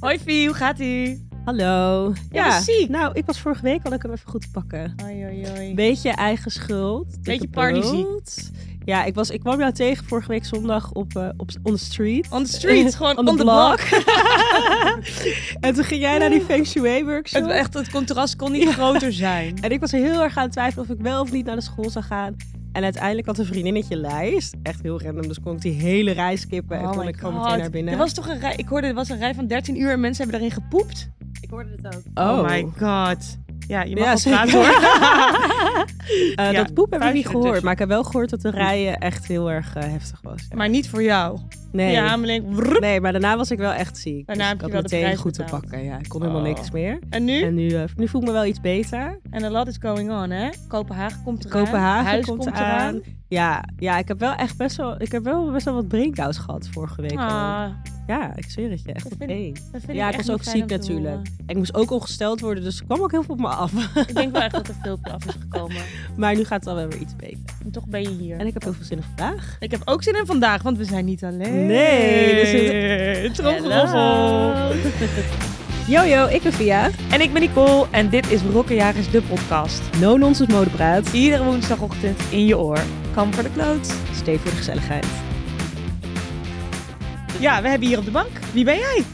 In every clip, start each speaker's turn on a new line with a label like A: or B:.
A: Hoi Vie, hoe gaat ie?
B: Hallo.
A: Ja, wat ziek.
B: Nou, ik was vorige week, had ik hem even goed te pakken.
A: Hoi, hoi, hoi.
B: Beetje eigen schuld.
A: Beetje
B: dikke
A: partyziek.
B: brood. Ja, ik, was, ik kwam jou tegen vorige week zondag op, eh, op on the street.
A: On the street, gewoon
B: On
A: on,
B: the
A: the block.
B: en toen ging jij naar die Feng Shui workshop.
A: Het, echt, het contrast kon niet groter zijn.
B: En ik was heel erg aan het twijfelen of ik wel of niet naar de school zou gaan. En uiteindelijk had een vriendinnetje lijst. Echt heel random. Dus kon ik die hele rij skippen en kon ik gewoon meteen naar binnen.
A: Oh Er was toch een rij, ik hoorde, er was een rij van 13 uur en mensen hebben daarin gepoept.
C: Ik hoorde het ook.
B: Oh,
A: god. Ja, je
B: Ja,
A: wel
B: zeker. Eh,
A: Ja, dus-
B: dat poep heb ik
A: thuis
B: niet
A: ertussen.
B: gehoord. Maar ik heb wel gehoord dat de rijen echt heel erg eh, heftig was. Ja.
A: maar niet voor jou.
B: nee.
A: Ja, maar denk, wrrp.
B: Nee, maar daarna was ik wel echt ziek.
A: Daarna
B: dus
A: heb
B: ik
A: je
B: had
A: wel de
B: meteen
A: prijs
B: goed te
A: betaald.
B: pakken. Ja, ik kon helemaal
A: Oh.
B: niks meer.
A: En nu?
B: En nu, eh, nu voel ik me wel iets beter.
A: En a lot is going on, hè? Kopenhagen komt eraan.
B: Kopenhagen
A: Huis
B: komt,
A: komt
B: eraan. Ja, ja, ik heb wel echt best wel, ik heb wel best wel wat breakouts gehad vorige week. al.
A: Ah,
B: Ja, ik zweer het je. Echt
A: Dat
B: wat
A: vind ik-
B: één.
A: dat vind
B: Ja, ik
A: echt
B: was
A: niet
B: ook
A: fijn
B: ziek
A: om te
B: natuurlijk.
A: horen.
B: En ik moest ook ongesteld worden, dus er kwam ook heel veel op me af.
A: Ik denk wel echt dat er veel op je af is gekomen.
B: maar nu gaat het al wel weer iets beter.
A: En toch ben je hier.
B: En ik heb heel veel zin in vandaag.
A: Ik heb ook zin in vandaag, want we zijn niet alleen.
B: Nee, dus
A: Tromgeroffel.
B: Jojo, ik ben Via.
A: En ik ben Nicole en dit is Rokkenjagers, de podcast.
B: No Nonsense Modepraat.
A: Iedere woensdagochtend in je oor. Kam voor de kloot.
B: Steef voor de gezelligheid.
A: Ja, we hebben hier op de bank. Wie ben jij?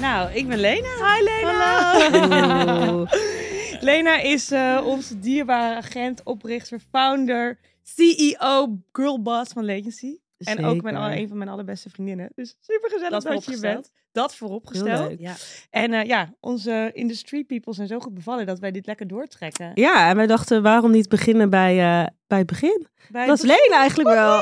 A: Nou, ik ben Lena. Hi Lena.
B: Oeh.
A: Lena is eh, onze dierbare agent, oprichter, founder, E CEO, girlboss van Legacy. En ook mijn,
B: Zeker.
A: al- een van mijn allerbeste vriendinnen. Dus super gezellig
C: Dat
A: dat, je hier
C: vooropgesteld.
A: bent. Dat
B: Heel
A: vooropgesteld.
B: leuk.
C: Ja.
A: En eh, ja, onze industry people zijn zo goed bevallen dat wij dit lekker doortrekken.
B: Ja, en wij dachten, waarom niet beginnen bij, eh, bij het begin?
A: Bij
B: Dat is Leen eigenlijk wel.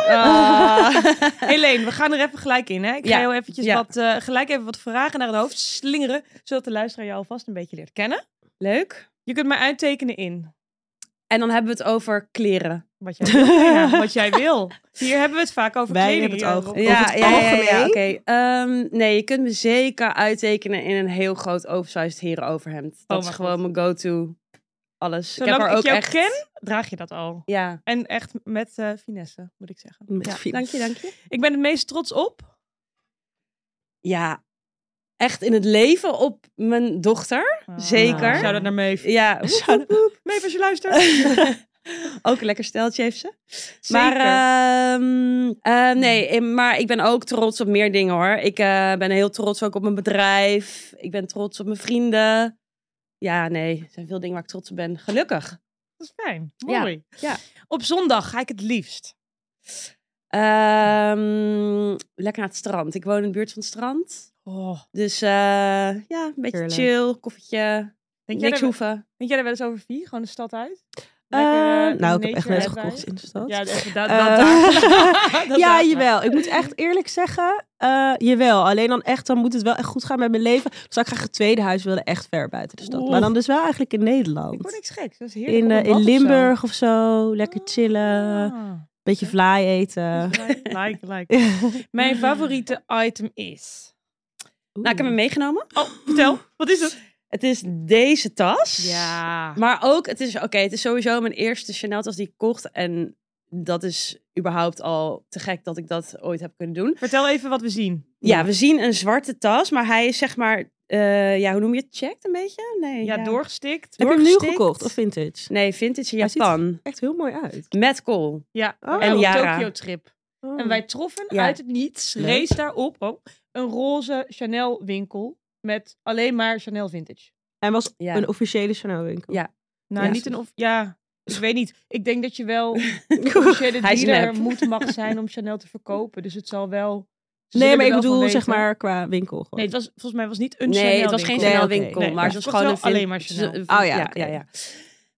A: Helene, we gaan er even gelijk in. Hè? Ik ga
C: Ah. Ja,
A: jou eventjes
C: ja.
A: wat, eh, gelijk even wat vragen naar het hoofd slingeren, zodat de luisteraar jou alvast een beetje leert kennen.
C: Leuk.
A: Je kunt mij uittekenen in
C: En dan hebben we het over kleren.
A: wat jij wil. ja, wat jij wil. Hier hebben we het vaak over
B: Wij
A: kleding.
B: hebben het
A: hier,
B: over-
A: Rob.
B: Ja. het algemeen?
C: Oké. Ehm, nee, je kunt me zeker uittekenen in een heel groot oversized herenoverhemd. Dat
A: Oh,
C: is
A: maar
C: gewoon mijn go-to. Alles.
A: Zolang ik,
C: ik heb er ook
A: jou
C: echt...
A: ken, draag je dat al.
C: Ja.
A: En echt met eh, finesse, moet ik zeggen.
B: Met
A: Ja.
B: fi-
C: Dank je, dank je.
A: Ik ben het meest trots op.
C: Ja. Echt in het leven op mijn dochter. Zeker.
A: Ah, Zou dat naar Meef?
C: Ja.
B: Zou-
A: Meef, als je luistert.
C: ook een lekker steltje heeft ze.
A: Zeker.
C: Maar, ehm, eh, nee, eh, maar ik ben ook trots op meer dingen hoor. Ik eh, ben heel trots ook op mijn bedrijf. Ik ben trots op mijn vrienden. Ja, nee, er zijn veel dingen waar ik trots op ben. Gelukkig.
A: Dat is fijn.
C: Ja.
A: Mooi.
C: Ja.
A: Op zondag ga ik het liefst.
C: Ehm, lekker naar het strand. Ik woon in de buurt van het strand.
A: Oh,
C: Dus eh, ja, een beetje
B: Heerlijk.
C: chill, koffietje,
A: denk, jij
C: niks
A: daar,
C: hoeven. Nou,
A: denk jij daar wel eens over Vie? Gewoon de stad uit?
B: Eh,
A: Lekker, eh,
B: nou, ik heb
A: nature
B: echt net
A: erbij.
B: gekocht in de stad.
A: Ja, echt, dat, dat,
B: Eh,
A: daar. Dat
B: ja,
A: daar.
B: jawel. Ik moet echt eerlijk zeggen, eh, jawel. Alleen dan echt, dan moet het wel echt goed gaan met mijn leven. Dus zou ik graag het tweede huis willen, echt ver buiten de stad.
A: Oeh.
B: Maar dan dus wel eigenlijk in
A: Ik hoor
B: Nederland.
A: niks geks. Dat is heerlijk.
B: In,
A: op
B: eh,
A: een bad
B: in
A: of zo.
B: Limburg eh, of zo. Lekker chillen.
A: Ah.
B: Beetje vlaai eten.
A: Like, like, like. Mijn favoriete item is...
C: Nou, ik
A: Hmm.
C: heb hem meegenomen.
A: Oh, vertel. Wat is het?
C: Het is deze tas.
A: Ja.
C: Maar ook, het is oké, het is sowieso mijn eerste Chanel tas die ik kocht. En dat is überhaupt al te gek dat ik dat ooit heb kunnen doen.
A: Vertel even wat we zien.
C: Ja, we zien een zwarte tas, maar hij is zeg maar, eh, ja, hoe noem je het? Checked een beetje? Nee.
A: Ja, doorgestikt.
B: Heb je hem nu
C: doorgestikt.
B: gekocht of vintage?
C: Nee, vintage
B: Hij ziet er
C: Japan.
B: Echt heel mooi uit.
C: Met kool.
A: Ja.
B: Oh.
A: En
C: En
A: ja.
C: Yara.
A: Tokyo trip. En wij troffen
C: Ja.
A: uit het niets,
B: Leuk.
A: rees daarop oh, een roze Chanel winkel met alleen maar Chanel vintage.
B: En was
C: Ja.
B: een officiële Chanel winkel.
C: Ja.
A: Nou,
C: Ja.
A: niet een of ja, ik weet niet. Ik denk dat je wel officiële
C: Hij is
A: dealer
C: nep.
A: moet mag zijn om Chanel te verkopen, dus het zal wel. ze
B: Nee,
A: zullen
B: maar
A: er
B: ik
A: wel van
B: bedoel zeg
A: weten.
B: maar qua winkel gewoon.
A: Nee, het was volgens mij was niet een Chanel.
C: Nee, het was geen
A: winkel.
C: Chanel
B: Nee, oké.
C: winkel,
B: Nee,
C: maar
A: maar
C: het was
A: het
C: gewoon
A: was wel
C: een
A: alleen
C: vin-
A: maar Chanel.
C: z-
B: Oh ja,
C: ja,
B: oké.
C: ja, ja.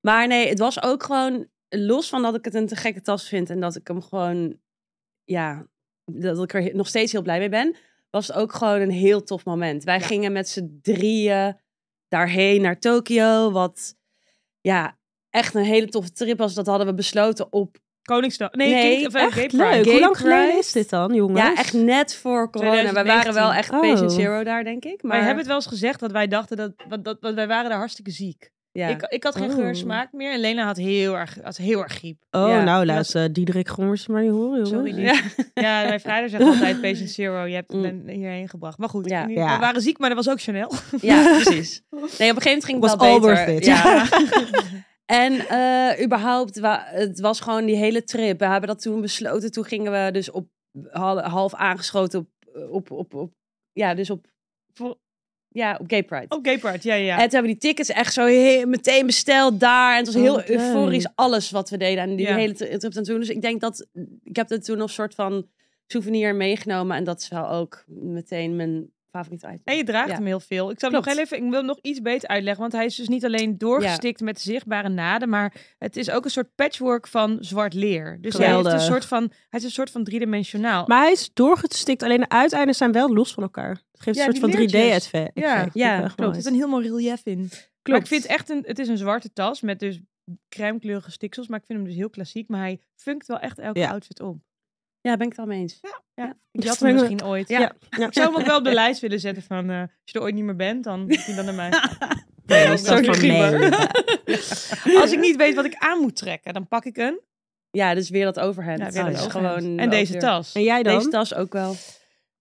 C: Maar nee, het was ook gewoon, los van dat ik het een te gekke tas vind en dat ik hem gewoon, ja, dat ik er he- nog steeds heel blij mee ben, was het ook gewoon een heel tof moment. Wij
A: Ja.
C: gingen met z'n drieën daarheen naar Tokio, wat ja, echt een hele toffe trip was. Dat hadden we besloten op,
A: Koningsdag. Nee,
C: Nee,
A: King- of, eh,
B: echt
A: Gay Pride.
B: leuk.
C: Gay
B: Hoe lang geleden
C: Pride.
B: is dit dan, jongens?
C: ja, echt net voor corona. We waren
A: 2019.
C: wel echt
B: Oh.
C: patient zero daar, denk ik.
A: Maar
C: Maar
A: we hebben het wel eens gezegd dat wij dachten dat, want dat, want wij waren daar hartstikke ziek.
C: Ja.
A: Ik, ik had geen
B: Oh.
A: geursmaak meer. En Lena had heel erg, had heel erg griep.
B: Oh,
C: Ja.
B: nou luister, Diederik Gommers maar niet horen, jongen.
A: Sorry, die-
C: Ja.
A: Ja, mijn vader zegt altijd patient zero. Je hebt
C: Mm.
A: hem hierheen gebracht. Maar goed,
C: Ja.
A: nu-
B: Ja.
A: we waren ziek, maar dat was ook Chanel.
C: Ja, precies. Nee, op een gegeven moment ging het
B: Was all
C: wel beter.
B: worth it.
C: Ja. En eh, überhaupt, wa- het was gewoon die hele trip. We hebben dat toen besloten. Toen gingen we dus op hal- half aangeschoten op, eh, op, op, op ja, dus op,
A: Voor-
C: ja, op Gay Pride.
A: Oké, part. Ja, ja.
C: En toen hebben we die tickets echt zo he- meteen besteld daar. En het was
B: Oh,
C: heel
B: wat leuk.
C: euforisch alles wat we deden aan die
A: Ja.
C: hele tri- trip. En toen. Dus ik denk dat, ik heb dat toen nog soort van souvenir meegenomen. En dat is wel ook meteen mijn favoriete item.
A: En je draagt
C: Ja.
A: hem heel veel. Ik, zal hem nog
C: Klopt.
A: heel even, ik wil hem nog iets beter uitleggen. Want hij is dus niet alleen doorgestikt met zichtbare naden. Maar het is ook een soort patchwork van zwart leer. Dus hij, heeft een
B: Geweldig.
A: soort van, hij is een soort van driedimensionaal.
B: Maar hij is doorgestikt, alleen de uiteinden zijn wel los van elkaar. Het geeft
A: Ja,
B: een
A: die
B: soort van
A: leertjes.
B: 3D-effect.
A: Ja,
C: ja,
A: er zit een heel mooi relief in. Maar ik vind echt een, het is een zwarte tas met dus crème kleurige stiksels. Maar ik vind hem dus heel klassiek. Maar hij funkt wel echt elke
B: Ja.
A: outfit om.
C: Ja, ben ik het al mee eens.
A: Ik had
B: Dat
A: hem
B: vind ik-
A: misschien ooit.
B: Ja.
A: Ik zou hem ook wel op de lijst willen zetten van eh, als je er ooit niet meer bent, dan misschien dan naar mij.
B: Nee, dat
A: dat
B: is dat
A: is
B: van
A: prima.
B: mee.
A: Als ik niet weet wat ik aan moet trekken, dan pak ik een.
C: Ja, dus weer dat overhand.
A: Ja, weer
C: dat
A: Oh, dat
C: is
A: overhand.
C: gewoon
A: En
C: ook
A: deze
C: weer-
A: tas.
B: En jij dan?
C: Deze tas ook wel.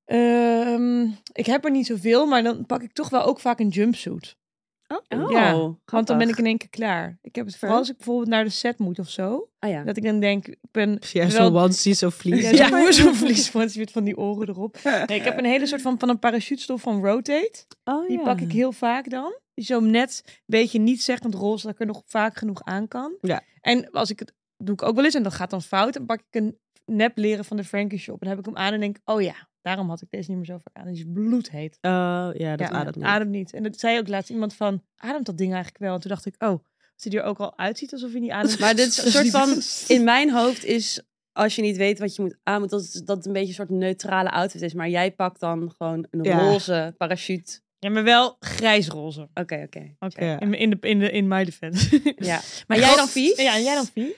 A: Ehm, ik heb er niet zoveel, maar dan pak ik toch wel ook vaak een jumpsuit.
C: Oh,
A: Ja,
C: grappig.
A: Want dan ben ik in één keer klaar. Ik heb het vooral als ik bijvoorbeeld naar de set moet of zo.
C: Ah ja.
A: Dat ik dan denk, ik ben...
B: Ja,
A: wel-
B: zo'n onesie, zo'n vlies.
A: Ja,
B: Ja.
A: ja. zo'n vlies van, met van die oren erop. Nee, ik heb een hele soort van, van een parachutestof van Rotate.
B: Oh,
A: Die pak ik heel vaak dan. Die zo net een beetje niet zeggend roze, dat ik er nog vaak genoeg aan kan.
B: Ja.
A: En als ik het doe ik ook wel eens en dat gaat dan fout, dan pak ik een nep leren van de Frankie Shop. En dan heb ik hem aan en denk, oh ja, daarom had ik deze niet meer zo vaak aan. Die is bloedheet.
B: Oh, ja, dat
A: Ja,
B: ademt niet.
A: Ademt niet. En dat zei ook laatst iemand van, ademt dat ding eigenlijk wel? En toen dacht ik, oh, als hij er ook al uitziet alsof hij niet ademt.
C: Maar dit is een soort van...
A: in
C: In mijn hoofd is, als je niet weet wat je moet aan moet, dat, is- dat het een beetje een soort neutrale outfit is. Maar jij pakt dan gewoon een
B: Ja.
C: roze parachute.
A: Ja, maar wel grijsroze.
C: Oké, oké.
A: Oké.
B: Ja.
A: In, in, de, in, de, in my defense.
C: Ja. Maar jij dan, Fie?
A: Ja, en jij dan Fie?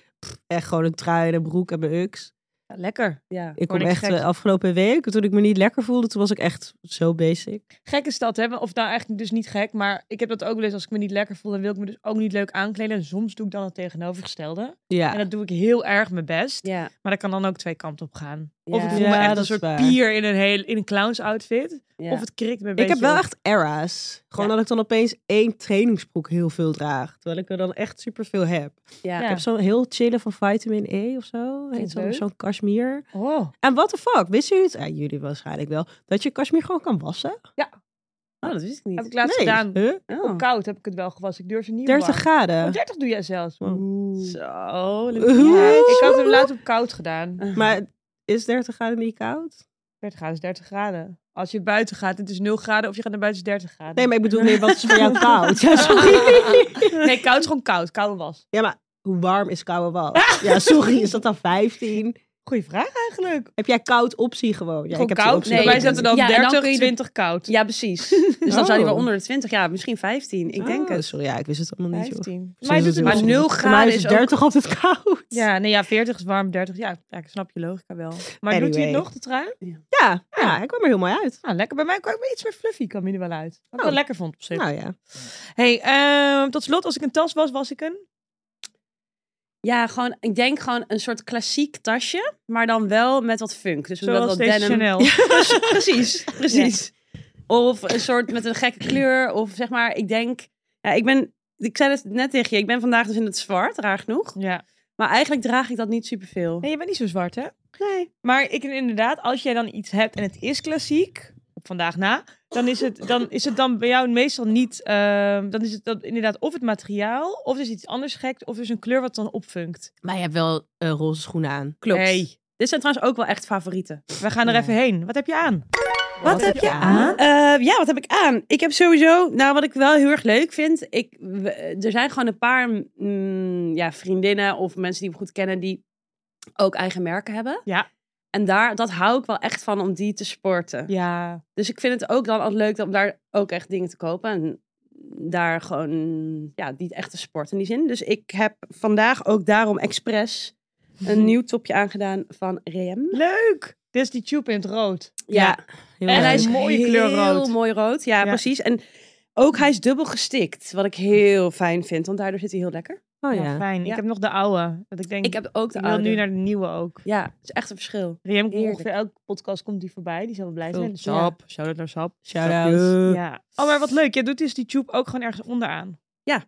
B: Echt gewoon een trui en een broek en mijn ux.
A: Ja, lekker.
C: Ja.
A: Word
B: Ik kom
A: ik
B: echt
A: gek.
B: eh, afgelopen week, toen ik me niet lekker voelde, toen was ik echt zo basic.
A: Gek is dat, hè? Of nou eigenlijk dus niet gek, maar ik heb dat ook wel eens als ik me niet lekker voel, dan wil ik me dus ook niet leuk aankleden. En soms doe ik dan het tegenovergestelde. En
B: Ja,
A: dat doe ik heel erg mijn best,
C: Ja.
A: maar dat kan dan ook twee kanten op gaan.
C: Ja.
A: Of ik voel
B: Ja,
A: me echt
B: dat
A: een
B: is
A: soort
B: waar.
A: pier in een, heel, in een clowns outfit,
C: ja.
A: of het krikt me een
B: ik heb
A: beetje
B: wel
A: op.
B: echt era's. Gewoon
C: Ja.
B: dat ik dan opeens één trainingsbroek heel veel draag. Terwijl ik er dan echt superveel heb.
C: ja.
A: Ja.
B: Ik heb zo'n heel chillen van vitamin E of zo. Heet
A: Vind je
B: zo'n
A: leuk?
B: zo'n kashmir.
A: Oh,
B: En what the fuck? Wisten jullie het? Eh, jullie waarschijnlijk wel. Dat je kashmir gewoon kan wassen?
C: Oh, dat wist ik
A: heb
C: niet.
A: ik laatst
B: Nee.
A: gedaan.
B: Huh?
C: Oh.
A: Koud heb ik het wel gewassen. Ik durf het niet
B: 30
A: warm.
B: graden.
A: Oh, 30 doe jij zelfs.
B: Wow.
A: Oeh.
C: Zo.
A: Ja,
B: Oeh.
A: ik had hem laat op koud gedaan.
B: Maar is 30 graden niet koud?
A: 30 graden is 30 graden. Als je buiten gaat, het is 0 graden of je gaat naar buiten, is 30 graden.
B: Nee, maar ik bedoel meer, wat is voor jou koud?
A: Ah.
B: Ja, sorry.
A: nee koud is gewoon koud. Koude was.
B: Ja, maar hoe warm is koude was?
A: Ah.
B: Ja, sorry. Is dat dan 15?
A: Goeie vraag eigenlijk.
B: Heb jij koud optie gewoon? Ja,
A: Gewoon
B: ik heb die
A: koud?
B: optie
A: Nee,
C: Nee,
B: ook
A: wij
B: niet.
A: zetten dan
C: Ja, en dan
A: 30,
C: kun je de-
A: 20 koud.
C: Ja, precies. Dus dan zou die wel
B: Oh.
C: onder de 20. Ja, misschien 15. Ik denk
B: Oh,
A: Ah.
C: het.
B: Sorry, ja, ik wist het allemaal niet. joh.
A: 15.
B: Ik
A: Maar,
B: zeg
A: doet het
B: dat
C: wel.
A: wel.
B: heel
C: nul
B: goed.
C: graden
B: Voor mij
C: is
B: is
C: ook-
B: 30 altijd koud.
A: Ja, nee, ja, 40 is warm, 30. Ja, ja, ik snap je logica wel. Maar doet hij het
B: Anyway.
A: nog, de trui?
B: Ja, ja, hij kwam er heel mooi uit.
A: Nou, lekker. Bij mij kwam er iets meer fluffy, kwam hij er wel uit. Wat ik
B: Oh.
A: wel lekker vond op zich.
B: Nou ja.
A: Hey, ehm, tot slot, als ik een tas was, was ik een...
C: Ja, gewoon, ik denk gewoon een soort klassiek tasje, maar dan wel met wat funk. Dus met
A: Zoals
C: wat
A: deze
C: denim.
A: Chanel.
C: Precies, precies. Of een soort met een gekke kleur. Of zeg maar, ik denk, ja, ik ben, ik zei het net tegen je, ik ben vandaag dus in het zwart, raar genoeg.
A: Ja.
C: Maar eigenlijk draag ik dat niet superveel.
A: Nee, je bent niet zo zwart, hè?
C: Nee.
A: Maar ik inderdaad, als jij dan iets hebt en het is klassiek, op vandaag na, dan is het dan, is het dan bij jou meestal niet. ehm, dan is het dan inderdaad of het materiaal, of er is iets anders gek, of er is een kleur wat dan opfunkt.
B: Maar je hebt wel eh, roze schoenen aan.
C: Klopt.
A: Hey,
C: Dit zijn trouwens ook wel echt favorieten.
A: we gaan er
B: Ja.
A: even heen. Wat heb je aan?
B: Wat heb je aan?
C: Eh, ja, wat heb ik aan? Ik heb sowieso, nou wat ik wel heel erg leuk vind, ik, we- eh, er zijn gewoon een paar mm, ja, vriendinnen of mensen die we goed kennen die ook eigen merken hebben.
A: Ja.
C: En daar, dat hou ik wel echt van om die te sporten.
A: Ja,
C: Dus ik vind het ook dan altijd leuk om daar ook echt dingen te kopen. En daar gewoon, ja, die echte sport in die zin. Dus ik heb vandaag ook daarom expres een nieuw topje aangedaan van Rem.
A: leuk. Dit is die tube in het rood.
C: Ja,
B: Heel
A: En
B: leuk.
A: hij is- mooie kleur rood.
C: Heel mooi rood, ja,
A: Ja.
C: precies. En Ook hij is dubbel gestikt, wat ik heel fijn vind, want daardoor zit hij heel lekker.
B: Oh
A: Ja,
B: ja.
A: fijn. Ik
C: Ja.
A: heb nog de oude. Want ik denk,
C: Ik heb ook de
A: ik wil
C: oude.
A: nu naar de nieuwe ook.
C: Ja, het is echt een verschil.
A: Riem, komt
C: Heerlijk.
A: ongeveer elke podcast komt die voorbij. Die zal wel blij zijn.
B: Oh,
A: Sap. Shout-out naar Sap.
B: Shout-out.
A: Ja. Oh, maar wat leuk. Jij doet dus die tube ook gewoon ergens onderaan.
C: Ja,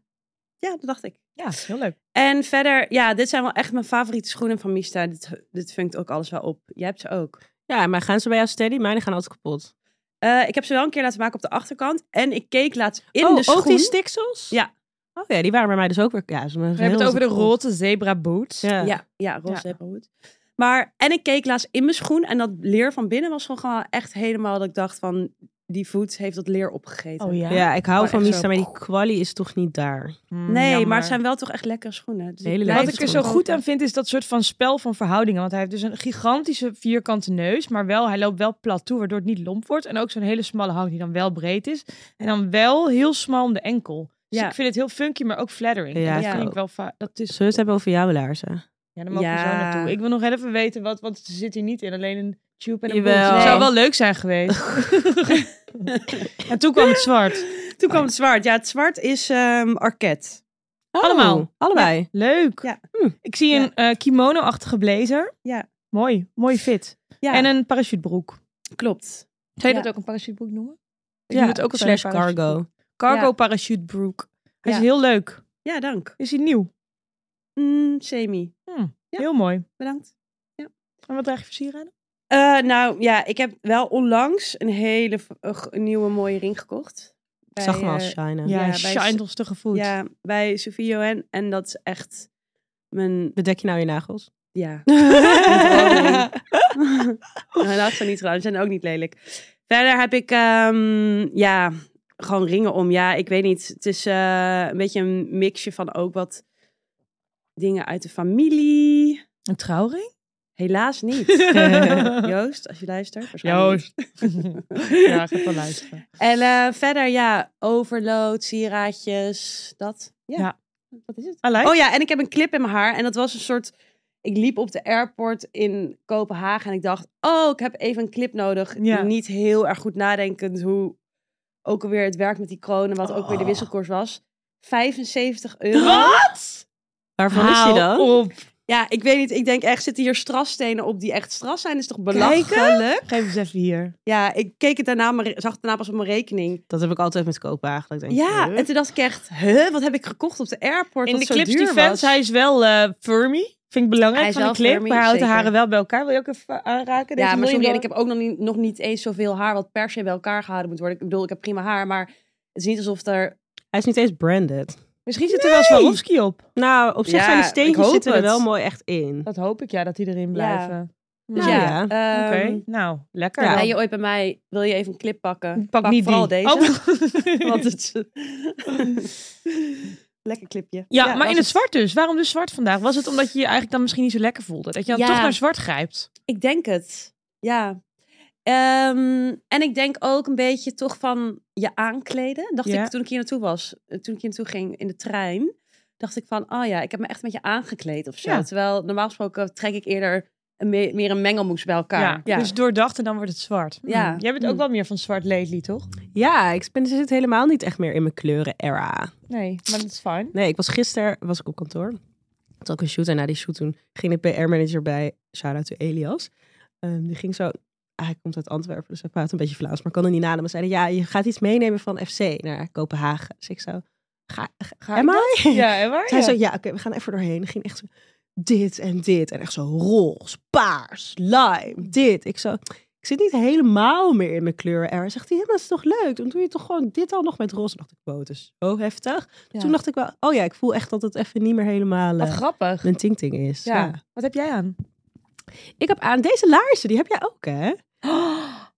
C: dat dacht ik.
A: Ja, heel leuk.
C: En verder, ja, dit zijn wel echt mijn favoriete schoenen van Mista. Dit, dit vangt ook alles wel op. Jij hebt ze ook.
B: Ja, maar gaan ze bij jou steady? Mijne gaan altijd kapot.
C: Eh, ik heb ze wel een keer laten maken op de achterkant. En ik keek laatst in
B: oh,
C: de schoen.
B: ook die stiksels?
C: Ja.
B: Oh ja, die waren bij mij dus ook weer... Ja, ze waren
A: We hebben het
B: heel
A: over de
B: kapot.
A: roze zebra boots.
B: Ja.
C: Ja, ja, roze
A: Ja.
C: zeeperhoed. Maar, en ik keek laatst in mijn schoen. En dat leer van binnen was gewoon, gewoon echt helemaal dat ik dacht van... Die voet heeft dat leer opgegeten.
A: Oh ja.
B: Ja, ik hou
C: Maar
B: van
C: echt
B: Mista,
C: zo-
B: maar die kwaliteit is toch niet daar.
A: Mm,
C: Nee, maar
A: jammer.
C: het zijn wel toch echt lekkere schoenen. Dus
B: Hele
C: ik blijf
B: leuke
A: Wat
C: het
A: ik er zo
C: gewoon
A: goed aan
C: kopen.
A: vind is dat soort van spel van verhoudingen. Want hij heeft dus een gigantische vierkante neus, maar wel, hij loopt wel plat toe, waardoor het niet lomp wordt. En ook zo'n hele smalle hang die dan wel breed is. En dan wel heel smal om de enkel. Dus
C: Ja.
A: ik vind het heel funky, maar ook flattering.
B: Ja,
A: Ja, dat
C: ik
A: vind
B: ook.
A: ik wel va- dat is
B: Zullen we het hebben over jouw laarzen?
A: Ja, dan mogen we zo
C: Ja.
A: naartoe. Ik wil nog even weten wat, want ze zit hier niet in. Alleen een tube en een
B: Jawel.
A: boot.
C: Nee.
A: Zou wel leuk zijn geweest. en toen kwam het zwart.
C: Toen kwam het zwart. Ja, het zwart is ehm Arket.
B: Oh,
A: Allemaal.
B: Allebei.
A: Leuk.
C: Ja.
B: Hm.
A: Ik zie
C: Ja.
A: een eh, kimono-achtige blazer.
C: Ja.
A: Mooi. Mooi fit.
C: Ja,
A: En een parachutebroek.
C: eh, klopt.
A: Zou je
C: Ja.
A: dat ook een parachutebroek noemen? Ik
B: Ja,
A: noem het ook altijd
B: slash
A: een parachute-
B: cargo.
A: Cargo
C: Ja.
A: parachutebroek. Hij is
C: Ja.
A: heel leuk.
C: Ja, dank.
A: Is hij nieuw?
C: Mm, semi. Ja.
A: Heel mooi.
C: Bedankt.
A: En wat draag je voor sieraden?
C: Eh, nou ja, ik heb wel onlangs een hele v- een g- een nieuwe mooie ring gekocht.
B: Ik zag hem
C: Bij,
B: al
C: eh,
B: shinen.
A: Ja,
C: ja,
A: hij
C: bij-
A: shined ons tegemoet.
C: Ja, bij Sophie Johan. En dat is echt mijn...
B: Bedek je nou je nagels?
C: Ja.
B: ja.
C: nou, dat had ik zo niet gedaan. Ze zijn ook niet lelijk. Verder heb ik... ehm, ja, gewoon ringen om. Ja, ik weet niet. Het is eh, een beetje een mixje van ook wat dingen uit de familie.
A: Een trouwring?
C: Helaas niet. Joost, als je luistert. waarschijnlijk
A: Joost. ja, ik ga wel luisteren.
C: En eh, verder, ja, overload, sieraadjes, dat. Ja.
A: Ja.
C: Wat is het?
A: Allee?
C: Oh ja, en ik heb een clip in mijn haar. En dat was een soort... Ik liep op de airport in Kopenhagen en ik dacht... Oh, ik heb even een clip nodig.
A: Ja.
C: Niet heel erg goed nadenkend hoe ook alweer het werk met die kronen... wat ook weer de
A: Oh.
C: wisselkoers was. 75 euro.
A: Wat?
B: Waarvan is die dan?
A: Op.
C: Ja, ik weet niet. Ik denk echt, zitten hier strasstenen op die echt stras zijn? is toch belachelijk?
A: Geef eens even hier.
C: Ja, ik keek het daarna, maar zag het daarna pas op mijn rekening.
B: Dat heb ik altijd met Kopenhagen. dat ik Denk,
C: Ja,
B: eh.
C: en toen dacht ik echt, huh, wat heb ik gekocht op de airport?
A: In
C: dat
A: de
C: zo
A: clips
C: duur
A: die fans,
C: was?
A: hij is wel eh Fermi. Vind ik belangrijk
C: Hij is
A: van de
C: wel
A: clip.
C: Fermi,
A: maar hij houdt de
C: zeker.
A: haren wel bij elkaar. Wil je ook even aanraken? Deze
C: Ja, maar
A: William
C: sorry, en ik
A: dan?
C: heb ook nog niet, nog niet eens zoveel haar wat per se bij elkaar gehouden moet worden. Ik bedoel, ik heb prima haar, maar het is niet alsof er...
B: Hij is niet eens branded.
A: Misschien zit er wel Swarovski op.
B: Nou, op zich
C: Ja,
B: zijn die
C: ik
B: steentjes
C: hoop
B: zitten er
C: het.
B: wel mooi echt in.
A: Dat hoop ik, ja, dat die erin blijven.
C: Dus
B: Nou ja,
C: ja, ehm,
A: Oké, nou, lekker.
B: Ja.
C: Ben je ooit bij mij, wil je even een clip pakken?
A: Pak, niet
C: vooral
A: die.
C: deze.
A: Oh.
C: Want het... Lekker clipje.
A: ja, maar
C: was
A: in het zwart dus. Waarom dus zwart vandaag? Was het omdat je je eigenlijk dan misschien niet zo lekker voelde? Dat je dan
C: Ja.
A: toch naar zwart grijpt?
C: Ik denk het, ja. Ehm, en ik denk ook een beetje toch van je aankleden. Dacht
A: Ja.
C: ik toen ik hier naartoe was, eh, toen ik hier naartoe ging in de trein, dacht ik van, oh ja, ik heb me echt een beetje aangekleed of zo.
A: Ja.
C: Terwijl normaal gesproken trek ik eerder een me- meer een mengelmoes bij elkaar. Ja,
A: Dus doordacht en dan wordt het zwart. Hm.
C: Ja.
A: Jij bent ook
C: Hm.
A: wel meer van zwart lately, toch?
B: Ja, ik ben, zit helemaal niet echt meer in mijn kleuren-era.
A: Nee, maar dat is fijn.
B: Nee, ik was gisteren was ik op kantoor. Had ook een shoot. En na die shoot toen ging de PR-manager bij, shout-out to Elias. Ehm, die ging zo... Ah, hij komt uit Antwerpen, dus hij praat een beetje Vlaams. Maar kan er niet nadenken. Maar zeiden, ja, je gaat iets meenemen van FC naar Kopenhagen. Dus ik zo... Ga,
A: Ga
B: Emma?
A: Ja, en waar?
B: Zij
A: ja.
B: zo, ja, oké, we gaan even doorheen. Ging echt zo, dit en dit. En echt zo roze, paars, lime, dit. Ik zo, ik zit niet helemaal meer in mijn kleuren era. Zegt hij, ja, maar het is toch leuk? Dan doe je toch gewoon dit al nog met roze. Toen dacht ik, wow, het is zo heftig.
A: Ja.
B: Toen dacht ik wel, oh ja, ik voel echt dat het even niet meer helemaal
A: Wat
B: eh,
A: grappig.
B: mijn ting-ting is. Ja.
A: Dus, Ja. Wat heb jij aan?
B: Ik heb aan deze laarzen, die heb jij ook, hè?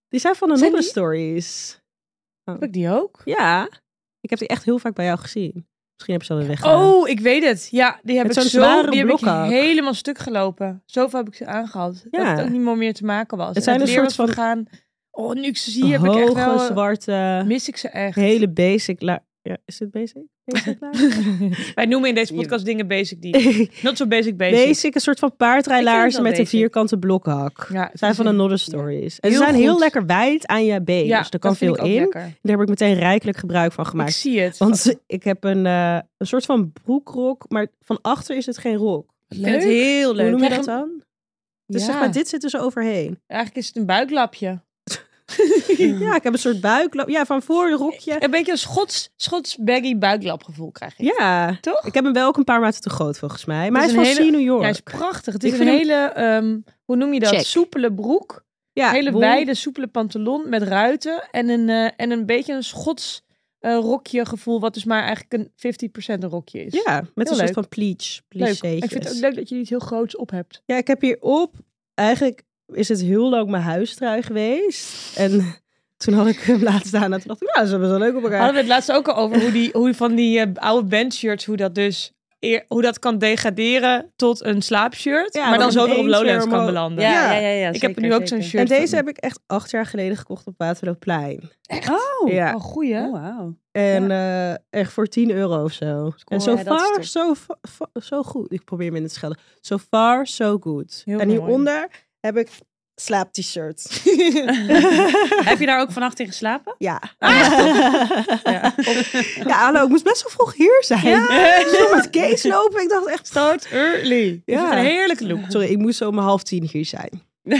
B: Die zijn van de
A: Zijn
B: Nobbe
A: die-
B: Stories.
A: Heb ik die ook?
B: Ja, ik heb die echt heel vaak bij jou gezien. Misschien heb je ze alweer weggehaald.
A: Oh, ik weet het. Ja, die heb
B: Met
A: ik
B: zo'n
A: zo,
B: zware
A: die heb ik
B: blok ook.
A: helemaal stuk gelopen. Zoveel heb ik ze aangehaald. Dat
B: Ja.
A: het ook niet meer, meer te maken was.
B: Het zijn
A: En
B: een
A: leer
B: soort
A: was vergaan. Oh, nu ik ze zie,
B: die
A: heb ik echt
B: hoge,
A: wel...
B: zwarte...
A: Mis ik ze echt.
B: hele basic la- Ja, is dit basic? Basic, laag?
A: Wij noemen in deze podcast dingen basic die. Not so basic basic.
B: basic, een soort van
C: Ik vind het
B: paardrijlaars
C: wel
B: met een
C: basic.
B: vierkante blokhak.
A: Ja, dus
B: Het zijn van Another Stories. En ze
A: Heel
B: zijn
A: goed.
B: heel lekker wijd aan je been. dus er kan
A: dat vind
B: veel
A: ik ook
B: in.
A: lekker.
B: Daar heb ik meteen rijkelijk gebruik van
A: Ik
B: gemaakt.
A: zie het.
B: Want ik heb een, eh, een soort van broekrok, maar van achter is het geen rok.
A: leuk.
C: Ik vind het heel leuk.
B: Hoe noem je
A: Krijg
B: dat
A: je
B: dan? Dus
A: Ja.
B: zeg maar, dit zit er zo overheen.
A: Eigenlijk is het een buiklapje.
B: Ja, ik heb een soort buiklap. Ja, van voor een rokje.
A: Een beetje een Schots, Schots baggy buiklapgevoel krijg ik.
B: Ja.
A: Toch?
B: Ik heb hem wel ook een paar maten te groot volgens mij. Maar
A: Het
B: hij
A: is
B: is van
A: een hele-
B: C New York.
A: Ja, hij is prachtig. Het
B: Ik
A: is een
B: vind hem-
A: hele, ehm, hoe noem je dat?
B: Check.
A: Soepele broek.
B: Ja,
A: hele
B: wol.
A: wijde, soepele pantalon met ruiten. En een, eh, en een beetje een Schots eh, rokje gevoel. Wat dus maar eigenlijk een 50% een rokje is.
B: Ja, met
A: Heel
B: een soort
A: leuk.
B: van pleach.
A: leuk.
B: pleach
A: Ik vind het ook leuk dat je iets heel groots op hebt.
B: Ja, ik heb hierop... Eigenlijk is het heel lang mijn huistrui geweest. En toen had ik hem laatst aan. En toen dacht ik, nou, ze hebben zo leuk op elkaar.
A: Hadden we het laatst ook al over hoe, die, hoe van die eh, oude bandshirts, hoe dat dus... eer- hoe dat kan degraderen tot een slaapshirt.
B: Ja,
A: maar dan
B: want
A: zo weer op
B: ineens weer
A: Lowlands kan
B: omhoog.
A: belanden.
C: Ja, ja,
B: Ja.
C: ja, ja,
A: ik heb
C: zeker,
A: nu ook zo'n
C: zeker.
A: shirt.
B: En deze
A: van-
B: heb ik echt acht jaar geleden gekocht op Waterloopplein.
C: Oh,
B: Ja.
A: Oh, goeie. hè?
C: oh wauw.
B: En eh, echt voor 10 euro of zo. en zo
C: ja, dat is
B: far,
C: top.
B: zo, fa- fa- zo goed. Ik probeer me in te schellen. So far, so good.
A: Heel
B: en
A: mooi.
B: hieronder heb ik slaap-t-shirt.
C: Heb je daar ook vannacht in geslapen?
B: ja.
A: Ah. Ja.
B: ja, hallo, ik moest best wel vroeg hier zijn. Ik moest nog met Kees lopen. Ik dacht echt...
A: Start early.
B: Ja.
A: Ja. een heerlijke look.
B: Sorry, ik moest zo om half tien hier zijn.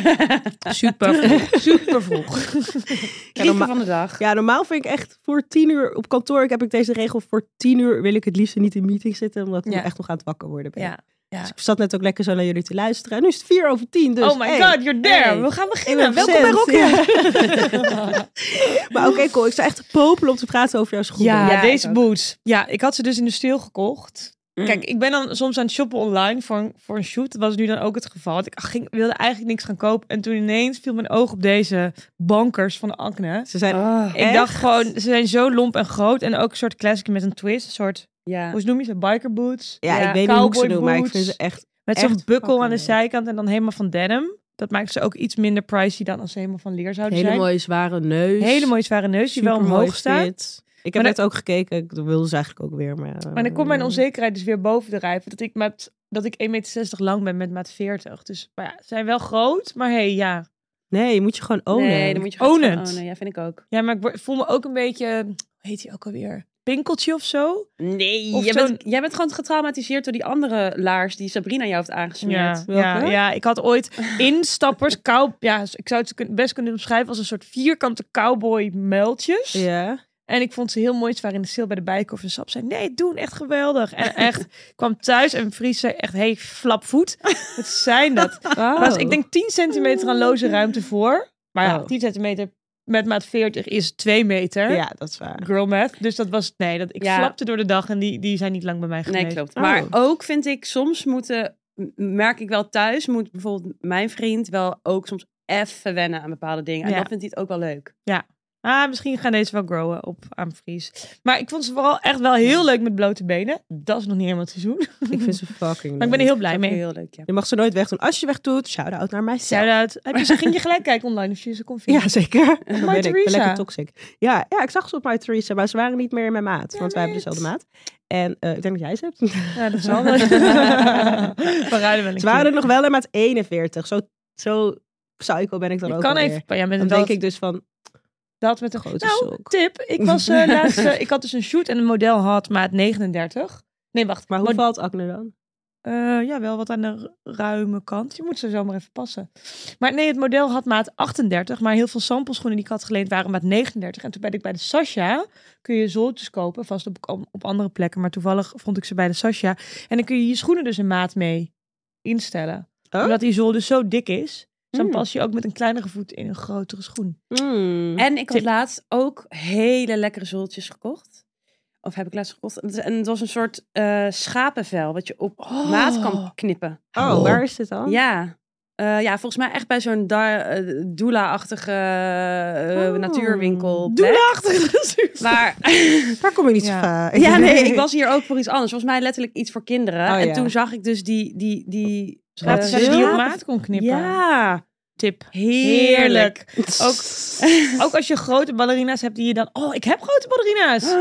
A: Super vroeg. Super vroeg.
B: Ja,
C: Liefde
B: norma-
C: van de dag.
B: ja, normaal vind ik echt voor tien uur op kantoor. Ik heb ik deze regel voor tien uur wil ik het liefst niet in meeting zitten. Omdat ik
A: Ja.
B: nog echt nog aan het wakker worden ben.
A: Ja.
B: Dus ik zat net ook lekker zo naar jullie te luisteren. En nu is het vier over tien. Dus,
A: oh my
B: hey.
A: god, you're there.
B: Hey.
A: We gaan
B: Ik
A: beginnen.
B: ben
A: Welkom
B: present.
A: bij Rock.
B: Ja. maar oké, cool. Ik sta echt te popelen om te praten over jouw schoenen.
A: Ja,
C: Ja,
A: deze
C: ik
A: boots. Ja, ik had ze dus in de stil gekocht.
C: Mm.
A: Kijk, ik ben dan soms aan het shoppen online voor een, voor een shoot. Dat was nu dan ook het geval. Want ik ging, wilde eigenlijk niks gaan kopen. En toen ineens viel mijn oog op deze bankers van Acne.
B: Ze zijn...
C: Ah,
A: Ik dacht gewoon, ze zijn zo lomp en groot. En ook een soort classic met een twist. Een soort,
C: ja.
A: hoe noem je ze? Biker boots.
B: Ja, ik
C: Ja,
B: weet niet hoe ik ze
A: cowboy
B: noem, maar ik
A: boots.
B: vind ze echt...
A: Met zo'n
B: Echt
A: bukkel aan de
B: fucking leuk.
A: zijkant en dan helemaal van denim. Dat maakt ze ook iets minder pricey dan als ze helemaal van leer zouden zijn.
B: mooie zware neus.
A: Hele mooie zware neus die wel omhoog staat.
B: Ik
A: Maar
B: heb net ook gekeken. Ik wilde ze eigenlijk ook weer, maar... eh,
A: Maar dan komt mijn onzekerheid dus weer boven drijven. Dat ik, maat, dat ik 1,60 meter lang ben met maat 40. Dus maar ja, ze zijn wel groot, maar hey, ja.
B: Nee, je moet je gewoon
A: Oh,
B: ownen.
C: Nee, dan moet je
A: Own
C: gewoon
A: it.
C: ownen. Ja, vind ik ook.
A: Ja, maar ik word- voel me ook een beetje, hoe heet hij ook alweer? Pinkeltje of zo?
C: Nee,
A: Of
C: jij
A: zo'n-
C: bent, jij bent gewoon getraumatiseerd door die andere laars die Sabrina jou heeft aangesmeerd.
A: Ja, ja,
B: Welke?
A: ja, ik had ooit instappers, kou, ja, ik zou het kun- best kunnen beschrijven als een soort vierkante cowboy muiltjes.
B: Ja.
A: En ik vond ze heel mooi. Ze waren in de sale bij de Bijenkorf. En Sap zei, nee, doen echt geweldig. En echt, ik kwam thuis en Fries zei echt, hey, flapvoet. Wat zijn dat? Was, ik denk 10 centimeter aan loze ruimte voor. Maar ja,
B: Oh.
A: 10 centimeter met maat 40 is 2 meter.
B: Ja, dat is waar.
A: Girl math. Dus dat was, nee, dat, ik
C: Ja.
A: flapte door de dag. En die, die zijn niet lang bij mij geweest.
C: Nee, klopt.
B: Oh.
C: Maar ook vind ik soms moeten, m- merk ik wel thuis, moet bijvoorbeeld mijn vriend wel ook soms even wennen aan bepaalde dingen. En
A: Ja.
C: dat vindt hij het ook wel leuk.
A: Ah, misschien gaan deze wel growen op aan Fries. Maar ik vond ze vooral echt wel heel leuk met blote benen. Dat is nog niet helemaal het seizoen.
B: Ik vind ze fucking
A: Maar ik ben er
B: leuk.
A: heel
C: Dat
A: blij
C: vind ik
A: mee.
C: heel leuk, ja.
B: Je mag ze nooit wegdoen. Als je wegdoet, shout-out naar mijzelf.
A: Shout-out. Heb je ze, ging je gelijk kijken online of je ze kon vinden?
B: Ja, zeker. Daar ben ik. Ik ben
A: Theresa.
B: lekker toxic. Ja, ja, ik zag ze op My Theresa, maar ze waren niet meer in mijn maat. want wij hebben dezelfde maat. En eh, ik denk dat jij ze hebt.
A: Ja, dat zal wel. We ruilen wel een
B: ze waren er nog wel in maat 41. Zo, zo psycho ben ik dan
A: keer. Je
B: ook
A: kan
B: alweer.
A: even... Ja, met
B: Dan
A: een
B: denk
A: dat,
B: ik dus van,
A: dat met een
B: grote
A: Nou,
B: sok.
A: tip. Ik was eh, laatst... eh, ik had dus een shoot en een model had maat 39. Nee, wacht.
B: Maar hoe
A: Mod-
B: valt acne dan?
A: eh, ja, wel wat aan de ru- ruime kant. Je moet ze zomaar even passen. Maar nee, het model had maat 38. Maar heel veel sampleschoenen die ik had geleend waren maat 39. En toen ben ik bij de Sasha. Kun je zooltjes kopen. Vast op, op andere plekken. Maar toevallig vond ik ze bij de Sasha. En dan kun je je schoenen dus een maat mee instellen.
B: Oh?
A: Omdat die zool dus zo dik is. Dus dan
C: Mm.
A: pas je ook met een kleinere voet in een grotere schoen.
B: En-
C: En ik had
A: Tip.
C: laatst ook hele lekkere zultjes gekocht. Of heb ik laatst gekocht. En het was een soort eh, schapenvel wat je op
A: Oh.
C: maat kan knippen.
B: Oh,
A: Oh.
B: waar is dit dan?
C: Ja. Eh, ja, volgens mij echt bij zo'n da- eh, doula-achtige eh,
B: Oh.
C: natuurwinkel.
A: Doelachtig.
C: Maar
B: Daar kom ik niet
A: Ja.
B: zo vaak.
C: ja, nee, ik was hier ook voor iets anders. Volgens mij letterlijk iets voor kinderen.
B: Oh,
C: En
B: ja.
C: toen zag ik dus die... die, die, die
A: Laten
C: eh,
A: ze die op
C: schapen-
A: maat kon knippen.
C: Ja.
A: tip.
C: Heerlijk.
A: Ook, ook als je grote ballerina's hebt die je dan... Oh, ik heb grote ballerina's!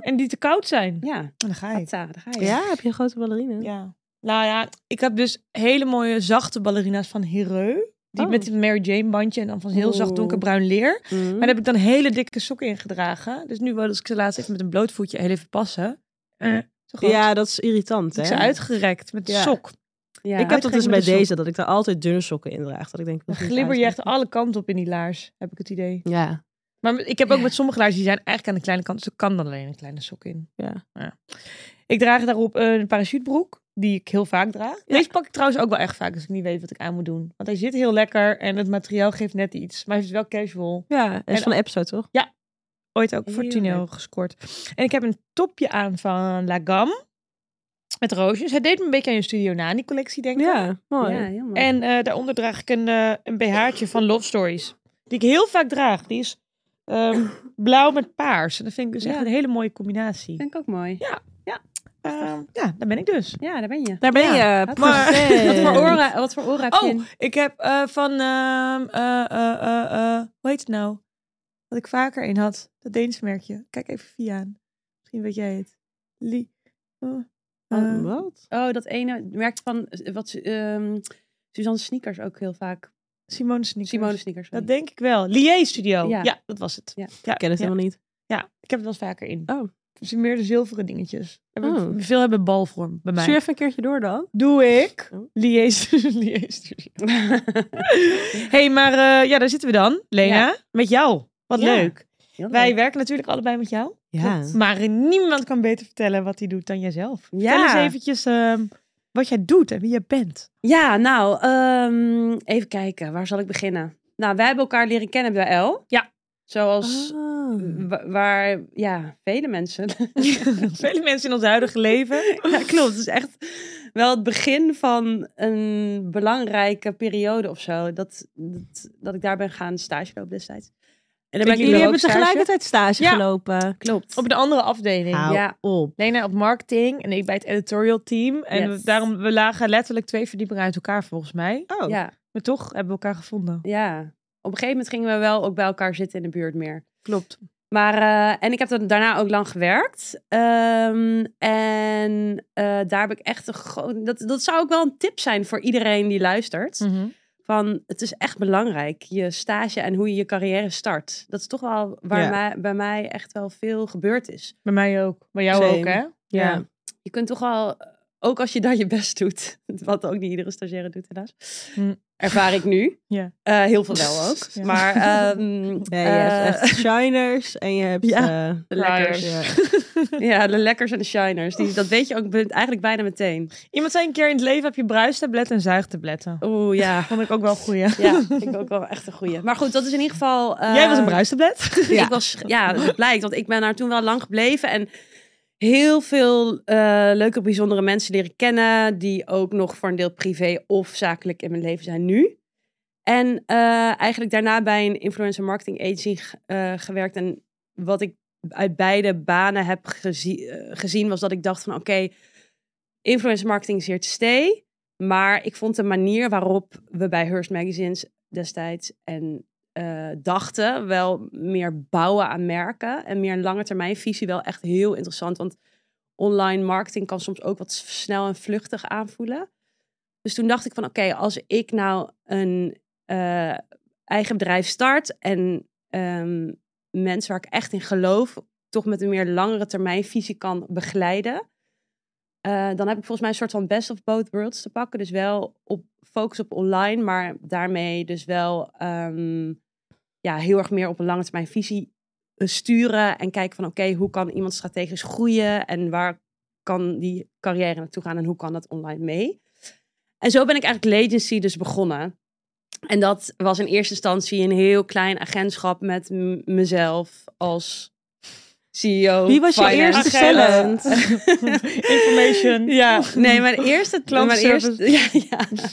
A: En die te koud zijn.
C: Ja,
A: dan ga ik.
C: Atza, daar ga je.
B: Ja, heb je een grote ballerina?
A: Ja. Nou ja, ik heb dus hele mooie zachte ballerina's van Hereu. Die
B: Oh.
A: met een Mary Jane bandje en dan van heel zacht
C: Oeh.
A: donkerbruin leer.
B: Mm.
A: Maar daar heb ik dan hele dikke sokken in gedragen. Dus nu wilde ik ze laatst even met een bloot voetje heel even passen. Eh, zo groot.
B: Ja, dat is irritant.
A: Heb ik
B: Hè?
A: ze uitgerekt met
B: Ja.
A: sok.
C: Ja.
B: Ik had dat dus bij
A: Uitgerekt met een
B: deze, dat ik daar altijd dunne sokken in draag. Dat ik denk,
A: Dan
B: dat is niet
A: glibber je echt
B: uitgerekt.
A: alle kanten op in die laars, heb ik het idee.
B: Ja.
A: Maar ik heb ook
C: Ja.
A: met sommige laars, die zijn eigenlijk aan de kleine kant. Dus er kan dan alleen een kleine sok in.
B: Ja.
A: Ik draag daarop een parachutebroek, die ik heel vaak draag. Deze pak ik trouwens ook wel echt vaak, als ik niet weet wat ik aan moet doen. Want hij zit heel lekker en het materiaal geeft net iets. Maar hij is wel casual.
B: Ja, hij is
A: En-
B: van Epso, toch?
A: Ooit ook voor
C: Heel
A: 10 euro gescoord. En ik heb een topje aan van La Gamme. Met roosjes. Het deed me een beetje aan je Studio Nani collectie denken.
B: Ja, mooi.
C: Ja, heel mooi.
A: En eh, daaronder draag ik een, eh een BH'tje van Love Stories. Die ik heel vaak draag. Die is ehm, blauw met paars. En dat vind ik dus echt
C: Ja.
A: een hele mooie combinatie.
C: vind ik ook mooi.
A: Ehm, ja, daar ben ik dus.
C: Ja, daar ben je.
B: Daar ben je.
C: Wat
A: maar-
B: perfect.
C: Wat voor oren, wat voor oren heb je?
A: Oh, ik heb eh, van, ehm, eh, eh, eh, eh, hoe heet het nou? Wat ik vaker in had. Dat Deens merkje. Kijk even via aan. Misschien weet jij het. Li. eh,
B: Oh,
A: eh,
B: Wat?
C: Oh, dat ene merk van eh, wat ze- ehm Suzanne Sneakers ook heel vaak.
A: Simone Sneakers.
C: Simone Sneakers. sorry.
A: Dat denk ik wel. Lié Studio. Ja.
C: Ja.
A: dat was het.
C: Ja.
A: ja,
B: Ik ken het
A: ja.
B: helemaal niet.
A: Ja, ik heb het wel eens vaker in.
B: Oh.
A: Het zijn meer de zilveren dingetjes. Hebben-
B: Oh.
A: Veel hebben balvorm bij mij.
B: Stuur even een keertje door dan.
A: Doe ik.
B: Oh.
A: Liaise. Liaise. hey, maar eh, ja, daar zitten we dan, Lena. Met jou. Wat
C: Ja.
A: leuk.
C: Heel
A: Wij
C: leuk.
A: werken natuurlijk allebei met jou.
B: Ja. Oh.
A: Klopt. Maar niemand kan beter vertellen wat hij doet dan jijzelf.
C: Ja.
A: Vertel eens eventjes ehm, wat jij doet en wie jij bent.
C: Ja, nou, ehm, even kijken. Waar zal ik beginnen? Nou, wij hebben elkaar leren kennen bij El.
A: Ja.
C: Zoals
B: Ah.
C: wa- waar, ja, vele mensen.
A: Vele mensen in ons huidige leven.
C: ja, klopt. Het is echt wel het begin van een belangrijke periode of zo. Dat, dat, dat ik daar ben gaan stage lopen destijds. En dan ben ik
A: Jullie
C: nu
B: Jullie
C: ook
B: hebben
C: stage.
B: tegelijkertijd stage
A: Ja.
B: gelopen.
C: Klopt.
A: Op een andere afdeling.
B: Hou
C: Ja.
B: op.
A: Lena op marketing en ik bij het editorial team. En
C: Yes.
A: we- daarom, we lagen letterlijk twee verdiepingen uit elkaar volgens mij.
B: Oh.
C: Ja,
A: Maar toch hebben we elkaar gevonden.
C: ja. Op een gegeven moment gingen we wel ook bij elkaar zitten in de buurt meer.
A: Klopt.
C: Maar, eh, en ik heb dan daarna ook lang gewerkt. Ehm, en eh, daar heb ik echt een groot... Dat, dat zou ook wel een tip zijn voor iedereen die luistert.
B: Mm.
C: Van, het is echt belangrijk, je stage en hoe je je carrière start. Dat is toch wel waar
B: Ja.
C: mij- bij mij echt wel veel gebeurd is.
A: Bij mij ook. Bij jou
B: Same.
A: ook, hè?
B: Ja.
C: Je kunt toch wel, ook als je daar je best doet... Wat ook niet iedere stagiaire doet helaas.
B: Mm.
A: Hm.
C: Ervaar ik nu.
A: Ja.
C: Eh, heel veel wel ook.
A: Ja.
C: Maar ehm,
B: Nee, je
C: eh,
B: hebt echt shiners en je hebt...
A: Ja.
B: eh,
C: de lekkers.
A: Liars.
B: ja.
C: Ja, de lekkers en de shiners. Die, dat weet je ook be- eigenlijk bijna meteen.
A: Iemand zei een keer in het leven heb je bruistabletten en zuigtabletten.
C: Oeh, ja.
A: Vond ik ook wel een goeie.
C: Ja, vind ik ook wel echt een goeie. Maar goed, dat is in ieder geval... eh,
A: Jij was een bruistablet?
C: Ik was, ja, dat blijkt. Want ik ben daar toen wel lang gebleven. En heel veel eh, leuke, bijzondere mensen leren kennen. Die ook nog voor een deel privé of zakelijk in mijn leven zijn nu. En eh, eigenlijk daarna bij een influencer marketing agency eh, gewerkt. En wat ik uit beide banen heb gezie- eh, gezien, was dat ik dacht van oké, influencer marketing is hier te stay. Maar ik vond de manier waarop we bij Hearst Magazines destijds en eh, dachten, wel meer bouwen aan merken en meer een lange termijn visie wel echt heel interessant. Want online marketing kan soms ook wat s- snel en vluchtig aanvoelen. Dus toen dacht ik van oké, als ik nou een eh, eigen bedrijf start en ehm, mensen waar ik echt in geloof, toch met een meer langere termijn visie kan begeleiden. eh, dan heb ik volgens mij een soort van best of both worlds te pakken. Dus wel op focus op online, maar daarmee dus wel ehm, ja, heel erg meer op een lange termijn visie eh, sturen. En kijken van oké, hoe kan iemand strategisch groeien en waar kan die carrière naartoe gaan en hoe kan dat online mee. En zo ben ik eigenlijk Legency dus begonnen. En dat was in eerste instantie een heel klein agentschap met m- mezelf als CEO.
B: Wie was je
C: finance,
B: eerste
A: Agent.
B: talent?
A: Information.
C: ja, Mm. nee, mijn eerste mijn eerste, ja, ja.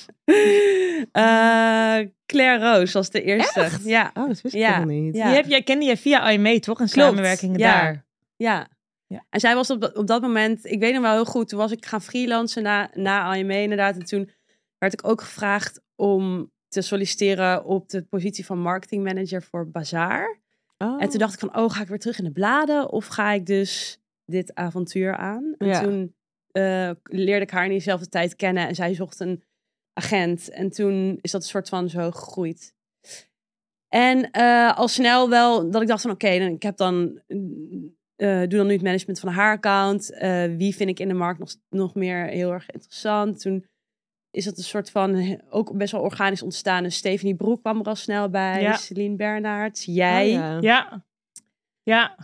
C: Eh, Claire Roos was de eerste. Ja,
B: Oh, dat wist ik
C: Ja.
B: helemaal niet.
C: Ja.
A: Die heb jij, kende jij via IME toch? En
C: Klopt,
A: samenwerkingen
C: ja.
A: daar.
C: ja.
A: Ja.
C: En zij was op dat, op dat moment, ik weet nog wel heel goed, E toen was ik gaan freelancen na, na IME inderdaad. En toen werd ik ook gevraagd om te solliciteren op de positie van marketingmanager voor Bazaar.
B: Oh.
C: En toen dacht ik van, oh, ga ik weer terug in de bladen of ga ik dus dit avontuur aan? En
B: Ja.
C: toen eh, leerde ik haar in diezelfde tijd kennen en zij zocht een agent. En toen is dat een soort van zo gegroeid. En eh, al snel wel dat ik dacht van, oké, dan ik heb dan... mm, eh, doe dan nu het management van haar account. Eh, wie vind ik in de markt nog, nog meer heel erg interessant? Toen is dat een soort van eh, ook best wel organisch ontstaan. Dus Stephanie Broek kwam er al snel bij.
A: Ja.
C: Celine Bernards, jij.
B: Oh, ja.
A: Ja. Ja.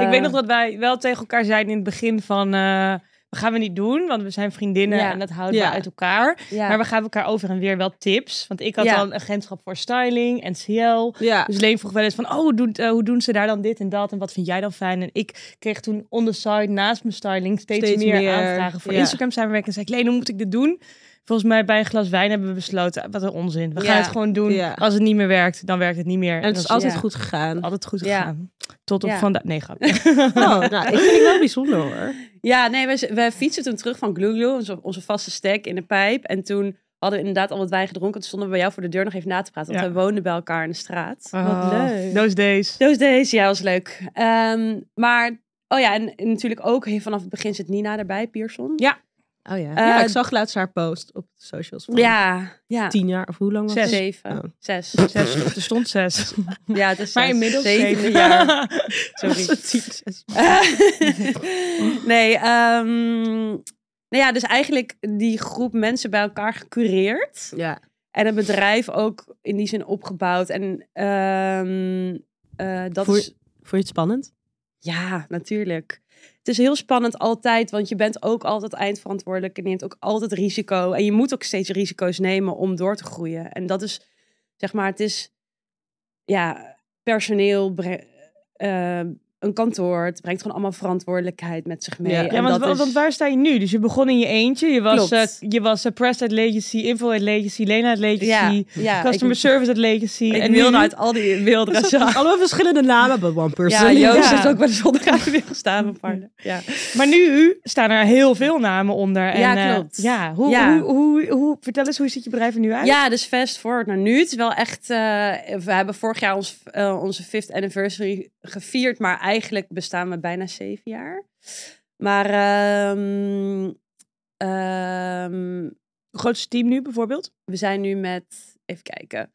C: Eh,
A: ik weet nog dat wij wel tegen elkaar zeiden in het begin van... eh, we gaan we niet doen, want we zijn vriendinnen
C: Ja.
A: en dat houden
B: Ja.
A: we uit elkaar.
C: Ja.
A: Maar we gaven elkaar over en weer wel tips. Want ik had
C: Ja.
A: dan een agentschap voor styling en CL.
B: Ja.
A: Dus Leen vroeg wel eens van, oh, hoe doen, eh, hoe doen ze daar dan dit en dat? En wat vind jij dan fijn? En ik kreeg toen on the side, naast mijn styling, steeds,
B: Steeds
A: meer,
B: meer,
A: aanvragen voor
B: ja.
A: Instagram samenwerken. En zei ik, Leen, hoe moet ik dit doen? Volgens mij bij een glas wijn hebben we besloten, wat een onzin. We
C: Ja.
A: gaan het gewoon doen.
B: Ja.
A: Als het niet meer werkt, dan werkt het niet meer.
B: En het is
A: dan
B: altijd
C: Ja.
B: goed gegaan.
A: altijd goed
C: Ja.
A: gegaan. Tot op
C: Ja.
A: vandaag. Nee, grap.
B: Oh, nou, ik vind het wel bijzonder hoor.
C: Ja, nee, we, we fietsen toen terug van Glue Glue, onze, onze vaste stek in de pijp. En toen hadden we inderdaad al wat wijn gedronken. Toen stonden we bij jou voor de deur nog even na te praten. Want
A: Ja.
C: we woonden bij elkaar in de straat.
A: Oh,
B: leuk.
A: Those days.
C: Dus deze, ja, was leuk. Ehm, maar, oh ja, en, en natuurlijk ook heel vanaf het begin zit Nina erbij, Pierson.
A: Ja.
B: Oh ja.
C: Eh,
B: ik zag laatst haar post op de socials. Van
C: ja, ja.
B: Tien jaar, of hoe lang was
A: Zes.
B: het?
C: Zeven,
B: Oh.
C: zes.
A: Zes, er stond zes.
C: Ja, het is
A: Maar
C: zes.
A: inmiddels
C: Zevende
A: zeven.
C: jaar.
B: Sorry.
C: Sorry.
B: Succes.
C: nee, ehm, nou ja, dus eigenlijk die groep mensen bij elkaar gecureerd.
B: Ja.
C: En het bedrijf ook in die zin opgebouwd. En ehm, eh, dat
B: Voor-
C: is...
B: Vond je het spannend?
C: Ja, natuurlijk. Het is heel spannend altijd, want je bent ook altijd eindverantwoordelijk. En je neemt ook altijd risico. En je moet ook steeds risico's nemen om door te groeien. En dat is, zeg maar, het is... Ja, personeel... bre- eh, een kantoor, het brengt gewoon allemaal verantwoordelijkheid met zich mee.
B: Ja.
C: En
A: Ja, want,
C: dat
A: wa-
C: is-
A: want waar sta je nu? Dus je begon in je eentje. Je was,
C: Klopt.
A: eh, je was eh, press at legacy, info at legacy, lena at legacy,
C: ja, ja,
A: customer
C: ik,
A: service at legacy.
C: ik
A: en
C: wilde
A: nu-
C: uit al die wildere zaken.
B: Allemaal verschillende namen bij One
C: Ja,
B: Person.
C: Joost
A: Ja.
C: heeft ook wel eens onderaan de weer gestaan. mijn partner. Ja.
A: Maar nu staan er heel veel namen onder. En,
C: Ja,
A: eh,
C: klopt.
A: ja, hoe,
C: Ja.
A: Hoe, hoe, hoe, vertel eens, hoe ziet je bedrijf er nu uit?
C: ja, dus fast forward naar nu. Het is wel echt... eh, we hebben vorig jaar ons, eh, onze fifth anniversary gevierd. Maar eigenlijk bestaan we bijna zeven jaar. Maar... ehm, ehm,
A: Het grootste team nu bijvoorbeeld?
C: we zijn nu met... Even kijken.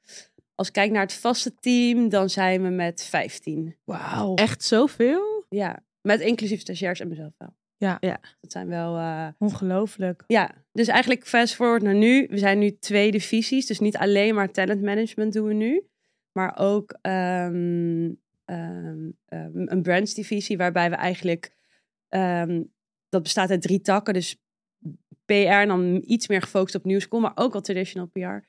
C: Als ik kijk naar het vaste team, dan zijn we met 15.
A: Wauw.
B: Echt zoveel?
C: Ja, met inclusief stagiairs en mezelf wel.
A: Ja.
B: Ja.
C: Dat zijn wel... eh,
A: Ongelooflijk.
C: Ja, dus eigenlijk fast forward naar nu. We zijn nu twee divisies. Dus niet alleen maar talent management doen we nu. Maar ook ehm, ehm, ehm, een brands divisie waarbij we eigenlijk... ehm, dat bestaat uit drie takken. Dus PR en dan iets meer gefocust op nieuwscom, maar ook wel traditional PR.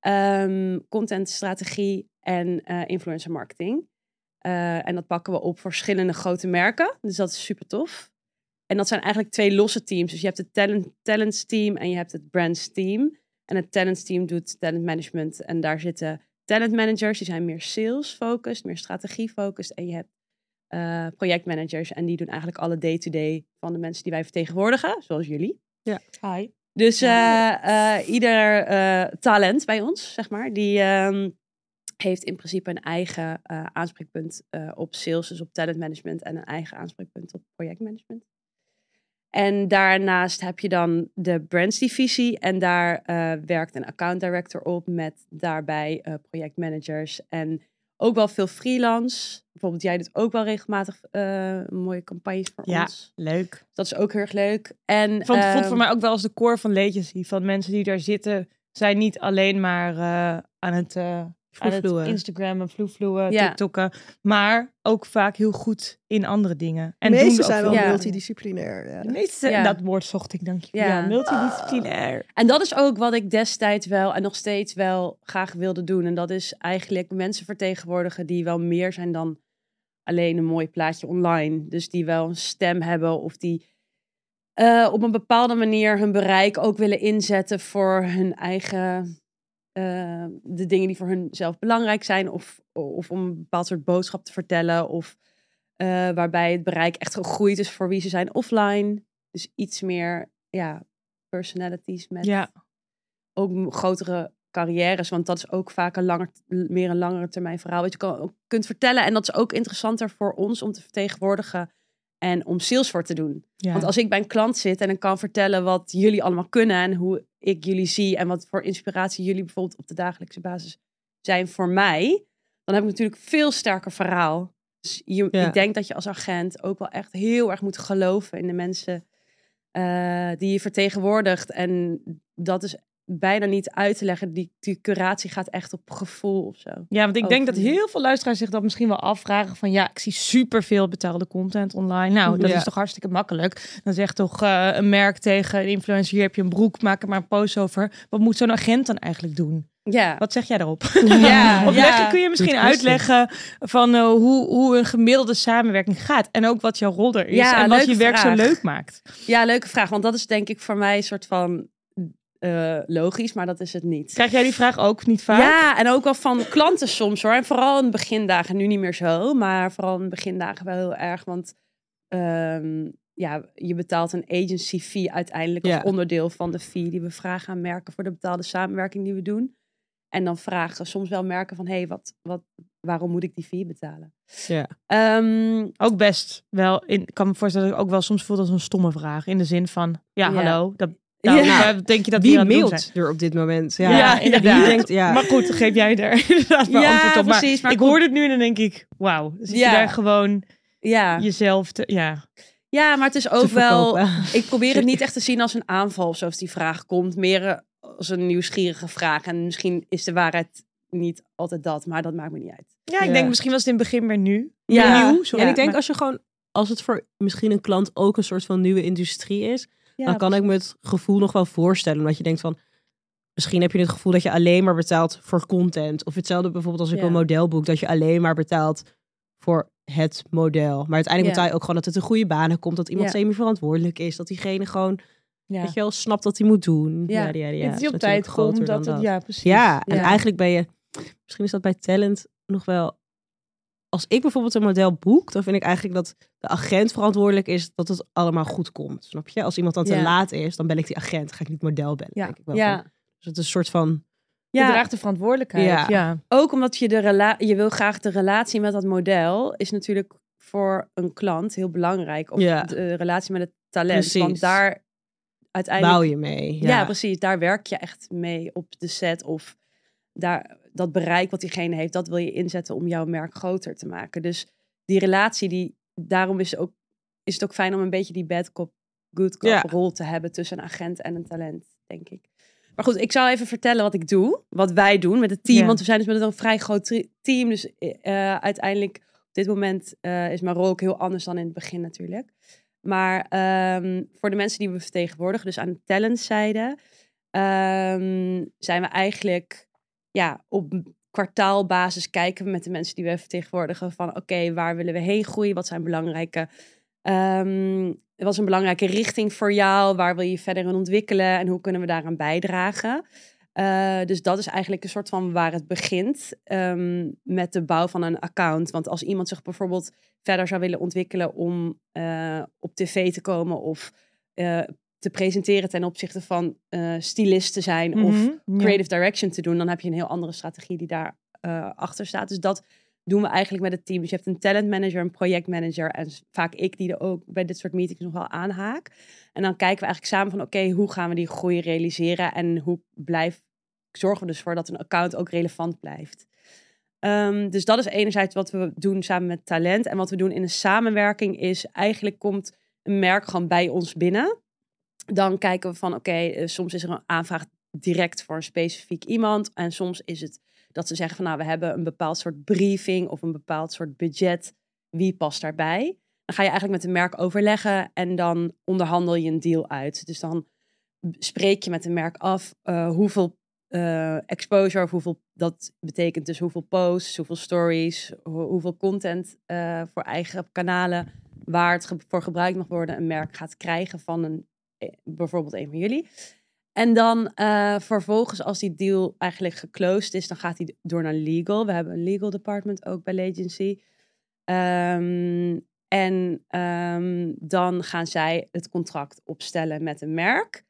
C: Ehm content strategie en eh, influencer marketing. Eh, en dat pakken we op voor verschillende grote merken. Dus dat is super tof. En dat zijn eigenlijk twee losse teams. Dus je hebt het talent, talents team en je hebt het brands team. En het talents team doet talent management. En daar zitten talent managers, die zijn meer sales focused, meer strategie focused. En je hebt eh, projectmanagers en die doen eigenlijk alle day-to-day van de mensen die wij vertegenwoordigen, zoals jullie.
A: Hi.
C: Dus
B: Ja.
C: eh, eh, ieder eh, talent bij ons, zeg maar, die ehm, heeft in principe een eigen eh, aanspreekpunt eh, op sales, dus op talent management, en een eigen aanspreekpunt op projectmanagement. En daarnaast heb je dan de brandsdivisie en daar eh, werkt een account director op met daarbij eh, projectmanagers en ook wel veel freelance. Bijvoorbeeld jij doet ook wel regelmatig eh, mooie campagnes voor
A: Ja.
C: ons.
A: Leuk.
C: Dat is ook heel erg leuk. En,
A: Ik vond, voelt
C: ehm,
A: voor mij ook wel als de core van legacy. Van mensen die daar zitten, zijn niet alleen maar eh, aan het... eh, aan het
B: Vloevloeien.
A: Instagram en vloevloeien,
C: Ja.
A: TikTokken. Maar ook vaak heel goed in andere dingen. En
D: de
A: doen
D: meeste
A: er ook
D: zijn wel
A: veel
C: Ja.
A: mee.
D: multidisciplinair. Ja.
A: De meeste,
C: Ja.
A: dat woord zocht ik, dank je.
C: Ja.
A: Ja, multidisciplinair.
C: En dat is ook wat ik destijds wel en nog steeds wel graag wilde doen. En dat is eigenlijk mensen vertegenwoordigen die wel meer zijn dan alleen een mooi plaatje online. Dus die wel een stem hebben of die eh, op een bepaalde manier hun bereik ook willen inzetten voor hun eigen. eh, de dingen die voor hun zelf belangrijk zijn, of, of om een bepaald soort boodschap te vertellen, of eh, waarbij het bereik echt gegroeid is voor wie ze zijn offline. Dus iets meer ja, personalities met
A: Ja.
C: ook m- grotere carrières. Want dat is ook vaak een langer, meer een langere termijn verhaal. Wat je kan, ook kunt vertellen. En dat is ook interessanter voor ons om te vertegenwoordigen. En om sales voor te doen.
B: Ja.
C: Want als ik bij een klant zit en dan kan vertellen wat jullie allemaal kunnen. En hoe ik jullie zie. En wat voor inspiratie jullie bijvoorbeeld op de dagelijkse basis zijn voor mij. Dan heb ik natuurlijk veel sterker verhaal. Dus je,
B: Ja.
C: ik denk dat je als agent ook wel echt heel erg moet geloven in de mensen eh, die je vertegenwoordigt. En dat is bijna niet uit te leggen. Die, die curatie gaat echt op gevoel of zo.
A: Ja, want ik
C: Ook
A: denk dat
C: van die-
A: heel veel luisteraars zich dat misschien wel afvragen. Van ja, ik zie superveel betaalde content online. Nou, dat
B: Ja.
A: is toch hartstikke makkelijk. Dan zegt toch eh, een merk tegen een influencer... hier heb je een broek, maak er maar een post over. Wat moet zo'n agent dan eigenlijk doen?
C: Ja.
A: Wat zeg jij daarop?
C: Ja,
A: of
C: ja.
A: leggen- kun je misschien
B: Niet rustig.
A: uitleggen van eh, hoe, hoe een gemiddelde samenwerking gaat. En ook wat jouw rol er is.
C: Ja,
A: en wat
C: leuke
A: je werk
C: vraag.
A: zo leuk maakt.
C: ja, leuke vraag. Want dat is denk ik voor mij een soort van eh, logisch, maar dat is het niet.
A: Krijg jij die vraag ook niet vaak?
C: Ja, en ook wel van klanten soms hoor. En vooral in de begindagen, nu niet meer zo, maar vooral in de begindagen wel heel erg. Want ehm, ja, je betaalt een agency fee uiteindelijk
B: Ja.
C: als onderdeel van de fee die we vragen aan merken voor de betaalde samenwerking die we doen. En dan vragen soms wel merken van, hé, hey, wat, wat, waarom moet ik die fee betalen?
B: Ja.
C: Ehm,
A: Ook best wel. in- Ik kan me voorstellen dat ik ook wel soms voel dat een stomme vraag. In de zin van, ja,
C: Ja.
A: hallo. Dat, nou,
C: Ja.
A: waar denk je dat we
B: Wie
A: aan het doen zijn?
B: mailt er op dit moment? Ja,
A: Ja, inderdaad.
B: Wie denkt, ja.
A: Maar goed, geef jij er inderdaad maar
C: Ja,
A: antwoord op. Maar
C: precies, maar
A: ik
C: goed.
A: hoor het nu en dan denk ik, wauw. Zit
C: Ja.
A: je daar gewoon
C: ja.
A: jezelf te... Ja,
C: ja, maar het is ook
B: te
C: wel...
B: verkopen.
C: Ik probeer het niet echt te zien als een aanval of zo, als die vraag komt. Meer eh, als een nieuwsgierige vraag. En misschien is de waarheid niet altijd dat, maar dat maakt me niet uit.
A: ja ik
B: Ja.
A: denk misschien was het in het begin weer nu.
C: Ja.
A: Nieuw, sorry.
B: en ik denk
A: Maar-
B: als je gewoon, als het voor misschien een klant ook een soort van nieuwe industrie is, dan kan ik me het gevoel nog wel voorstellen. Omdat je denkt van, misschien heb je het gevoel dat je alleen maar betaalt voor content. Of hetzelfde bijvoorbeeld als ik
C: Ja.
B: een model boek, dat je alleen maar betaalt voor het model. Maar uiteindelijk
C: Ja.
B: betaal je ook gewoon dat het een goede banen komt, dat iemand
C: Ja.
B: semi-verantwoordelijk is, dat diegene gewoon,
A: ja.
B: weet je wel, snapt wat hij moet doen.
C: Ja.
B: ja, ja,
A: dat
B: is
A: die op
B: natuurlijk
A: tijd
B: groter
A: komt.
B: dan
A: Dat, het- Ja, precies.
B: ja, en
C: Ja.
B: eigenlijk ben je, misschien is dat bij talent nog wel. Als ik bijvoorbeeld een model boek, dan vind ik eigenlijk dat de agent verantwoordelijk is dat het allemaal goed komt. Snap je? Als iemand dan te
C: Ja.
B: laat is, dan bel ik die agent. Ga ik niet model bellen.
A: Ja.
B: Denk ik wel van.
C: Ja,
B: Dus het is een soort van.
A: Je
C: ja.
A: draagt de verantwoordelijkheid.
B: Ja.
A: Ja.
C: ook omdat je de rela- je wil graag de relatie met dat model is natuurlijk voor een klant heel belangrijk. Of
B: Ja.
C: de relatie met het talent.
B: Precies.
C: Want daar uiteindelijk
B: Bouw je mee. Ja,
C: Ja. precies. Daar werk je echt mee op de set. Of daar, dat bereik wat diegene heeft, dat wil je inzetten om jouw merk groter te maken. Dus die relatie, die, daarom is, ook, is het ook fijn om een beetje die bad cop, good cop
B: Ja.
C: rol te hebben tussen een agent en een talent, denk ik. Maar goed, ik zal even vertellen wat ik doe. Wat wij doen met het team.
A: Ja.
C: Want we zijn dus met een vrij groot tri- team. Dus eh, uiteindelijk op dit moment eh, is mijn rol ook heel anders dan in het begin natuurlijk. Maar ehm, voor de mensen die we vertegenwoordigen, dus aan de talentzijde, ehm, zijn we eigenlijk ja, op kwartaalbasis kijken we met de mensen die we vertegenwoordigen van oké, waar willen we heen groeien? Wat zijn belangrijke ehm wat is een belangrijke richting voor jou? Waar wil je je verder in ontwikkelen? En hoe kunnen we daaraan bijdragen? Eh, dus dat is eigenlijk een soort van waar het begint ehm, met de bouw van een account. Want als iemand zich bijvoorbeeld verder zou willen ontwikkelen om eh, op tv te komen of eh, te presenteren ten opzichte van eh stylist te zijn of
A: Mhm. Ja.
C: creative direction te doen, dan heb je een heel andere strategie die daar eh, achter staat. Dus dat doen we eigenlijk met het team. Dus je hebt een talent manager, een project manager en s- vaak ik die er ook bij dit soort meetings nog wel aanhaak. En dan kijken we eigenlijk samen van oké, hoe gaan we die groei realiseren en hoe blijf, zorgen we dus voor dat een account ook relevant blijft. Ehm, dus dat is enerzijds wat we doen samen met talent. En wat we doen in een samenwerking is eigenlijk komt een merk gewoon bij ons binnen. Dan kijken we van oké, eh, soms is er een aanvraag direct voor een specifiek iemand. En soms is het dat ze zeggen van nou, we hebben een bepaald soort briefing of een bepaald soort budget. Wie past daarbij? Dan ga je eigenlijk met een merk overleggen en dan onderhandel je een deal uit. Dus dan spreek je met een merk af eh, hoeveel eh, exposure of hoeveel dat betekent. Dus hoeveel posts, hoeveel stories, ho- hoeveel content eh, voor eigen kanalen waar het ge- voor gebruikt mag worden, een merk gaat krijgen van een, eh, bijvoorbeeld een van jullie. En dan eh, vervolgens, als die deal eigenlijk geclosed is, dan gaat die door naar legal. We hebben een legal department ook bij Legency. Ehm, en ehm, dan gaan zij het contract opstellen met een merk.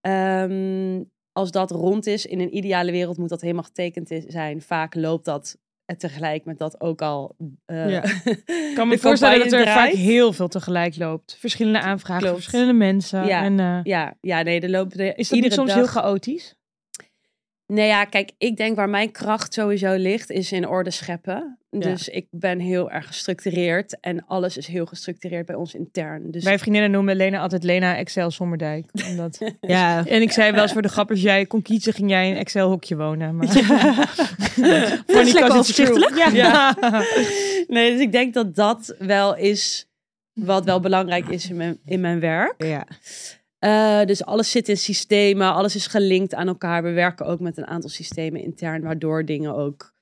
C: Ehm, als dat rond is, in een ideale wereld moet dat helemaal getekend is- zijn. Vaak loopt dat eh, tegelijk met dat ook al. eh,
B: Ja.
A: Ik kan me
C: de
A: voorstellen dat
C: campagne
A: er vaak
C: draait.
A: heel veel tegelijk loopt. Verschillende aanvragen,
C: Klopt.
A: verschillende mensen.
C: Ja.
A: En, eh,
C: ja, ja, nee, er loopt de,
A: is dat niet
C: iedere
A: soms
C: dag-
A: heel chaotisch?
C: Nee, Nou ja, kijk, ik denk waar mijn kracht sowieso ligt, is in orde scheppen. Dus ik ben heel erg gestructureerd en alles is heel gestructureerd bij ons intern. Dus
A: Mijn vriendinnen noemen Lena altijd Lena Excel Sommerdijk. Omdat...
B: Ja.
A: en ik zei wel eens voor de grap, als jij kon kiezen, ging jij in Excel hokje wonen. Maar...
B: Dat is lekker
A: Because it's true.
B: overzichtelijk.
A: Ja.
C: nee, dus ik denk dat dat wel is wat wel belangrijk is in mijn, in mijn werk.
B: Ja.
C: Eh, dus alles zit in systemen, alles is gelinkt aan elkaar. We werken ook met een aantal systemen intern, waardoor dingen ook,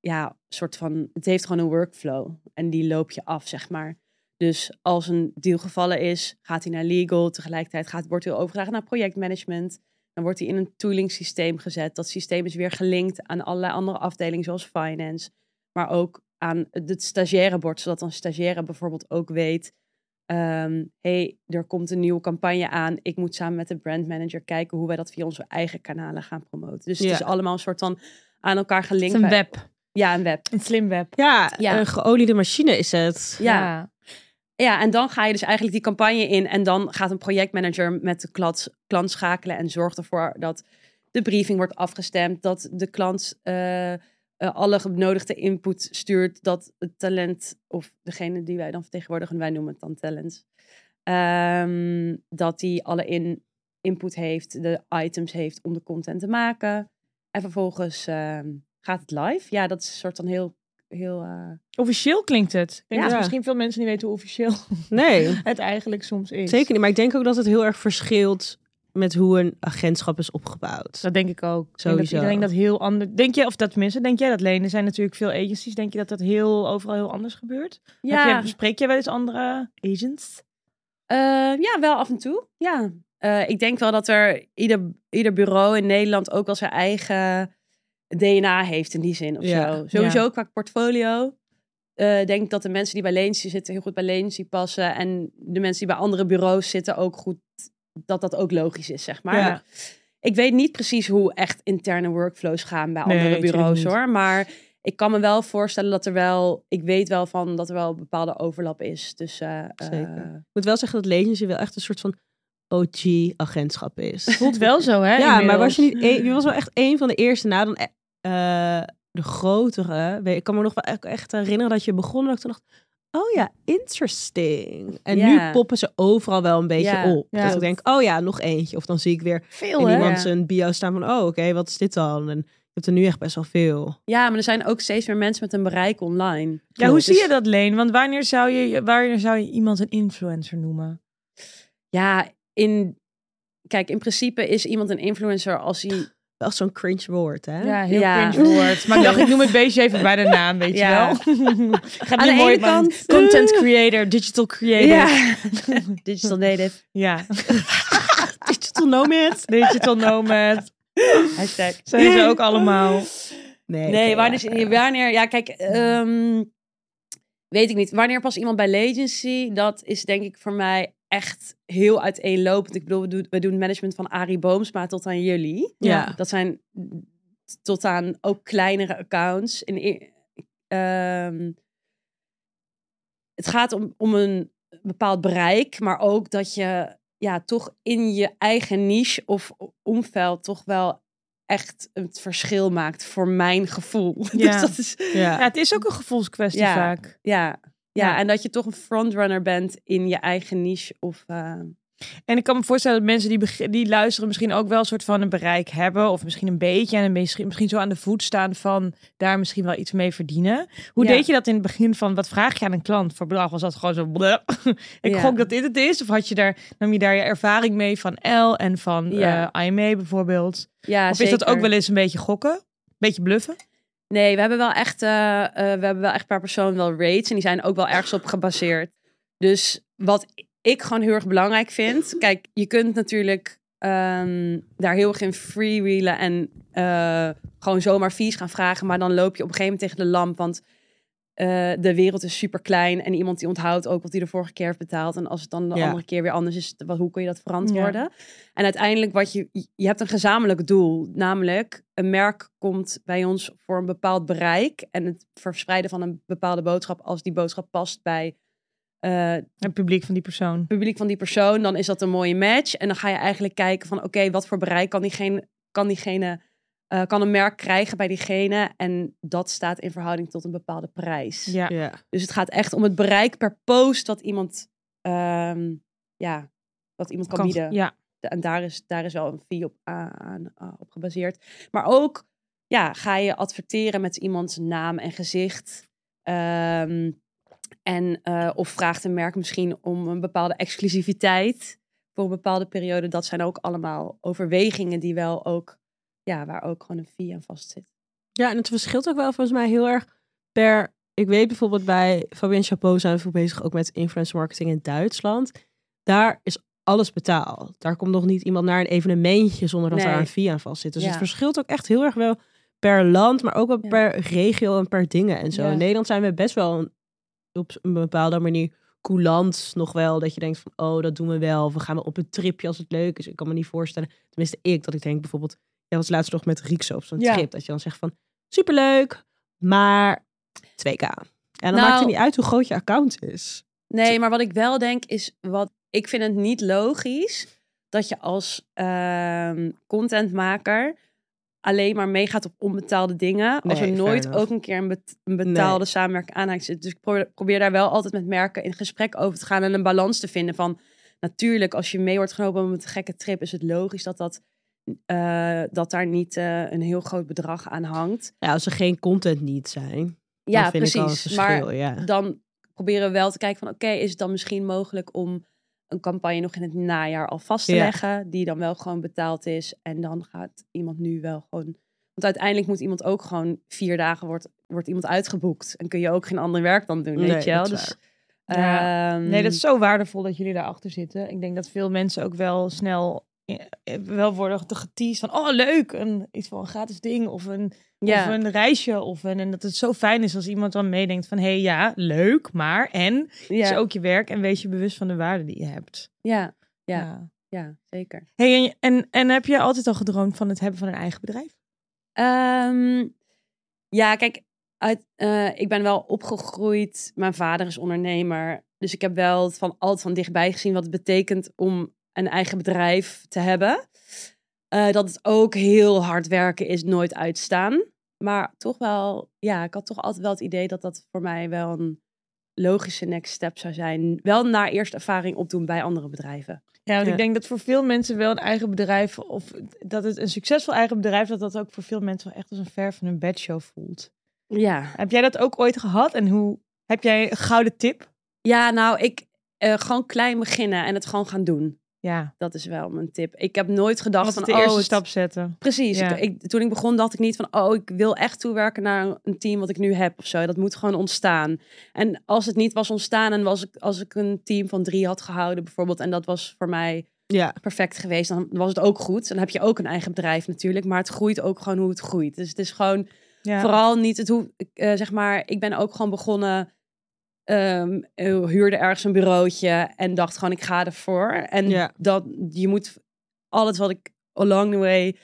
C: ja, soort van, het heeft gewoon een workflow en die loop je af, zeg maar. Dus als een deal gevallen is, gaat hij naar legal, tegelijkertijd gaat, wordt hij overgedragen naar projectmanagement. Dan wordt hij in een tooling systeem gezet. Dat systeem is weer gelinkt aan allerlei andere afdelingen, zoals finance, maar ook aan het stagiairebord, zodat een stagiaire bijvoorbeeld ook weet ehm hey, er komt een nieuwe campagne aan. Ik moet samen met de brandmanager kijken hoe wij dat via onze eigen kanalen gaan promoten. Dus
B: Ja.
C: het is allemaal een soort van aan elkaar
A: Het is
C: gelinkt.
A: een
C: bij-
A: web,
C: Ja, een web.
A: een slim web.
B: Ja,
C: Ja.
B: een geoliede machine is het.
C: Ja. ja. en dan ga je dus eigenlijk die campagne in. En dan gaat een projectmanager met de klant, klant schakelen en zorgt ervoor dat de briefing wordt afgestemd. Dat de klant eh, eh, alle genodigde input stuurt. Dat het talent, of degene die wij dan vertegenwoordigen, wij noemen het dan talents. Ehm, dat die alle in, input heeft, de items heeft om de content te maken. En vervolgens ehm, gaat het live. Ja, dat is een soort van heel. heel eh,
A: Officieel klinkt het. Ik denk
B: Ja.
A: dat misschien veel mensen niet weten hoe officieel
B: Nee,
A: het eigenlijk soms is.
B: zeker niet. Maar ik denk ook dat het heel erg verschilt met hoe een agentschap is opgebouwd.
A: Dat denk ik ook. Ik denk dat
B: Sowieso.
A: iedereen dat heel anders... Denk je, of dat tenminste, denk jij dat Leen? Er zijn natuurlijk veel agencies. Denk je dat dat heel, overal heel anders gebeurt?
C: ja.
A: Heb je, spreek je wel eens andere agents?
C: Eh, ja, wel af en toe. Ja. Eh, ik denk wel dat er ieder, ieder bureau in Nederland ook wel zijn eigen DNA heeft in die zin of
B: Ja,
C: zo. Sowieso qua portfolio. eh, Ik denk dat de mensen die bij Leensie zitten heel goed bij Leensie passen. En de mensen die bij andere bureaus zitten ook goed. Dat dat ook logisch is, zeg maar.
A: Ja.
C: Ik weet niet precies hoe echt interne workflows gaan bij
A: Nee,
C: andere
A: tuurlijk
C: bureaus
A: niet.
C: hoor. Maar ik kan me wel voorstellen dat er wel. Ik weet wel van dat er wel een bepaalde overlap is tussen. eh,
B: Zeker. Ik moet wel zeggen dat Legency wel echt een soort van OG-agentschap is.
A: Voelt wel zo, hè?
B: ja, maar was je
A: inmiddels.
B: niet... een- je was wel echt een van de eerste na dan... eh, de grotere. Weet- Ik kan me nog wel e-, echt- echt herinneren dat je begon en dat ik toen dacht... Oh ja, interesting. En
C: Ja.
B: nu poppen ze overal wel een beetje
C: Ja,
B: op.
A: ja.
B: dat ik denk, oh ja, nog eentje. Of dan zie ik weer
A: Veel,
B: in
A: hè?
B: iemand
C: Ja.
B: zijn bio staan van... Oh, oké, wat is dit dan? En je hebt er nu echt best wel veel.
C: Ja, maar er zijn ook steeds meer mensen met een bereik online.
A: Ja, hoe
C: Dus-
A: zie je dat, Leen? Want wanneer zou je, wanneer zou je iemand een influencer noemen?
C: Ja, in... Kijk, in principe is iemand een influencer als hij...
B: Wel zo'n cringe woord, hè?
C: heel Ja. cringe
A: woord. Maar ik dacht, ik noem het beestje even bij de naam, weet
C: Ja.
A: je wel. ik ga
C: Aan de ene kant- eh,
A: Content creator, digital creator. eh, Ja.
C: Digital native.
B: Digital nomad.
A: Digital nomad.
C: Hashtag.
A: Zijn ze ook allemaal.
B: Nee, oké,
C: Nee,
B: ja.
C: wanneer... is- wanneer ja, kijk... ehm, weet ik niet. Wanneer pas iemand bij Legency? Dat is denk ik voor mij echt heel uiteenlopend. Ik bedoel, we doen, we doen management van Arie Boomsma tot aan jullie.
B: Ja.
C: Dat zijn tot aan ook kleinere accounts. In, in- ehm, het gaat om, om een bepaald bereik, maar ook dat je ja, toch in je eigen niche of omveld toch wel echt het verschil maakt voor mijn gevoel.
A: Ja.
C: Dus dat is,
A: Ja,
B: Ja.
A: het is ook een gevoelskwestie
C: Ja.
A: vaak.
C: ja, ja,
A: Ja.
C: en dat je toch een frontrunner bent in je eigen niche of... eh,
A: En ik kan me voorstellen dat mensen die, beg- die luisteren misschien ook wel een soort van een bereik hebben. Of misschien een beetje. En misschien, misschien zo aan de voet staan van daar misschien wel iets mee verdienen. Hoe
C: Ja.
A: deed je dat in het begin van wat vraag je aan een klant voor bedrag? Was dat gewoon zo. bleh? ik
C: Ja.
A: gok dat dit het is. Of had je daar, nam je daar je ervaring mee van L en van
C: Ja.
A: eh IME bijvoorbeeld?
C: ja,
A: of is dat ook
C: zeker.
A: wel eens een beetje gokken? Beetje bluffen?
C: Nee, we hebben wel echt, eh, eh, we hebben wel echt per persoon wel rates. En die zijn ook wel ergens op gebaseerd. Dus wat ik gewoon heel erg belangrijk vind. Kijk, je kunt natuurlijk ehm, daar heel erg in freewheelen. En eh, gewoon zomaar vies gaan vragen. Maar dan loop je op een gegeven moment tegen de lamp. Want eh, de wereld is super klein en iemand die onthoudt ook wat hij de vorige keer heeft betaald. En als het dan de
B: Ja.
C: andere keer weer anders is, wat, hoe kun je dat verantwoorden? En uiteindelijk, wat je, je hebt een gezamenlijk doel, namelijk een merk komt bij ons voor een bepaald bereik en het verspreiden van een bepaalde boodschap, als die boodschap past bij eh,
A: Het publiek van die persoon.
C: publiek van die persoon, dan is dat een mooie match. En dan ga je eigenlijk kijken van oké, wat voor bereik kan diegene, kan diegene eh, kan een merk krijgen bij diegene. En dat staat in verhouding tot een bepaalde prijs.
A: Ja.
B: Ja.
C: Dus het gaat echt om het bereik per post wat iemand, ehm, ja, wat iemand kan, bieden.
A: Ja.
C: De- En daar is, daar is wel een fee op, aan, aan- ah, op gebaseerd. Maar ook, ja, ga je adverteren met iemands naam en gezicht. Ehm, en, eh, of vraagt een merk misschien om een bepaalde exclusiviteit voor een bepaalde periode. Dat zijn ook allemaal overwegingen die wel ook, ja, waar ook gewoon een fee aan vast zit.
B: Ja, en het verschilt ook wel volgens mij heel erg per... Ik weet bijvoorbeeld bij Fabien Chapeau zijn we veel bezig ook met influencer marketing in Duitsland. Daar is alles betaald. Daar komt nog niet iemand naar een evenementje zonder dat
C: Nee.
B: daar een fee aan vast zit. Dus
C: Ja.
B: het verschilt ook echt heel erg wel per land, maar ook wel
C: Ja.
B: per regio en per dingen en zo.
C: Ja.
B: In Nederland zijn we best wel een- op een bepaalde manier coulant nog wel. Dat je denkt van, oh, dat doen we wel. We gaan wel op een tripje als het leuk is. Ik kan me niet voorstellen, tenminste ik, dat ik denk bijvoorbeeld... Jij was laatst nog met Riekse op zo'n
C: Ja.
B: trip. Dat je dan zegt van, superleuk, maar 2k. En dan
C: Nou-
B: maakt het niet uit hoe groot je account is.
C: Nee, maar wat ik wel denk is wat ik vind het niet logisch dat je als ehm, contentmaker alleen maar meegaat op onbetaalde dingen. als er
B: Nee, fair
C: nooit
B: enough.
C: ook een keer een, bet- een betaalde
B: Nee.
C: samenwerking aanhaakt zit. Dus ik pro- probeer daar wel altijd met merken in gesprek over te gaan en een balans te vinden van natuurlijk als je mee wordt genomen met een gekke trip is het logisch dat dat eh, dat daar niet eh, een heel groot bedrag aan hangt.
B: Ja, als ze geen content niet zijn, ja,
C: Ja,
B: dan vind ik al een
C: precies. Maar
B: verschil. ja.
C: dan proberen we wel te kijken van oké, is het dan misschien mogelijk om een campagne nog in het najaar al vast te
B: Ja.
C: leggen, die dan wel gewoon betaald is. En dan gaat iemand nu wel gewoon. Want uiteindelijk moet iemand ook gewoon vier dagen wordt, wordt iemand uitgeboekt. En kun je ook geen ander werk dan doen,
B: Nee,
C: weet je wel.
B: dat is
C: Dus,
A: Ja.
C: ehm,
A: Nee, dat is zo waardevol dat jullie daarachter zitten. Ik denk dat veel mensen ook wel snel eh, wel worden te geteased van oh leuk een iets van een gratis ding of een
C: ja.
A: of een reisje of een en dat het zo fijn is als iemand dan meedenkt van hé hey, ja leuk maar en
C: ja,
A: is ook je werk en wees je bewust van de waarde die je hebt
C: ja, Ja. ja, zeker.
A: hey en, en en heb je altijd al gedroomd van het hebben van een eigen bedrijf
C: Ehm, ja, kijk, uit, eh, ik ben wel opgegroeid. Mijn vader is ondernemer. Dus ik heb wel van altijd van dichtbij gezien wat het betekent om een eigen bedrijf te hebben. Eh, dat het ook heel hard werken is, nooit uitstaan. Maar toch wel, ja, ik had toch altijd wel het idee dat dat voor mij wel een logische next step zou zijn. Wel naar eerst ervaring opdoen bij andere bedrijven.
A: ja want
B: Ja.
A: ik denk dat voor veel mensen wel een eigen bedrijf of dat het een succesvol eigen bedrijf dat dat ook voor veel mensen wel echt als een ver van hun bedshow voelt
C: Ja,
A: heb jij dat ook ooit gehad en hoe heb jij een gouden tip
C: ja nou, ik eh, gewoon klein beginnen en het gewoon gaan doen.
A: ja
C: Dat is wel mijn tip. Ik heb nooit gedacht
A: als
C: van
A: het de
C: oh,
A: eerste
C: het-
A: stap zetten
C: Precies.
A: Ja.
C: Ik, ik- toen ik begon dacht ik niet van oh, ik wil echt toewerken naar een- een team wat ik nu heb of zo. Dat moet gewoon ontstaan. En als het niet was ontstaan en was ik als ik een team van drie had gehouden bijvoorbeeld en dat was voor mij
B: ja.
C: perfect geweest, dan was het ook goed. Dan heb je ook een eigen bedrijf natuurlijk, maar het groeit ook gewoon hoe het groeit. Dus het is gewoon
A: ja
C: Vooral niet het hoe, eh, zeg maar, ik ben ook gewoon begonnen. ehm, eh, huurde ergens een bureautje en dacht gewoon, ik ga ervoor. En
B: Ja.
C: dat je moet alles wat ik along the way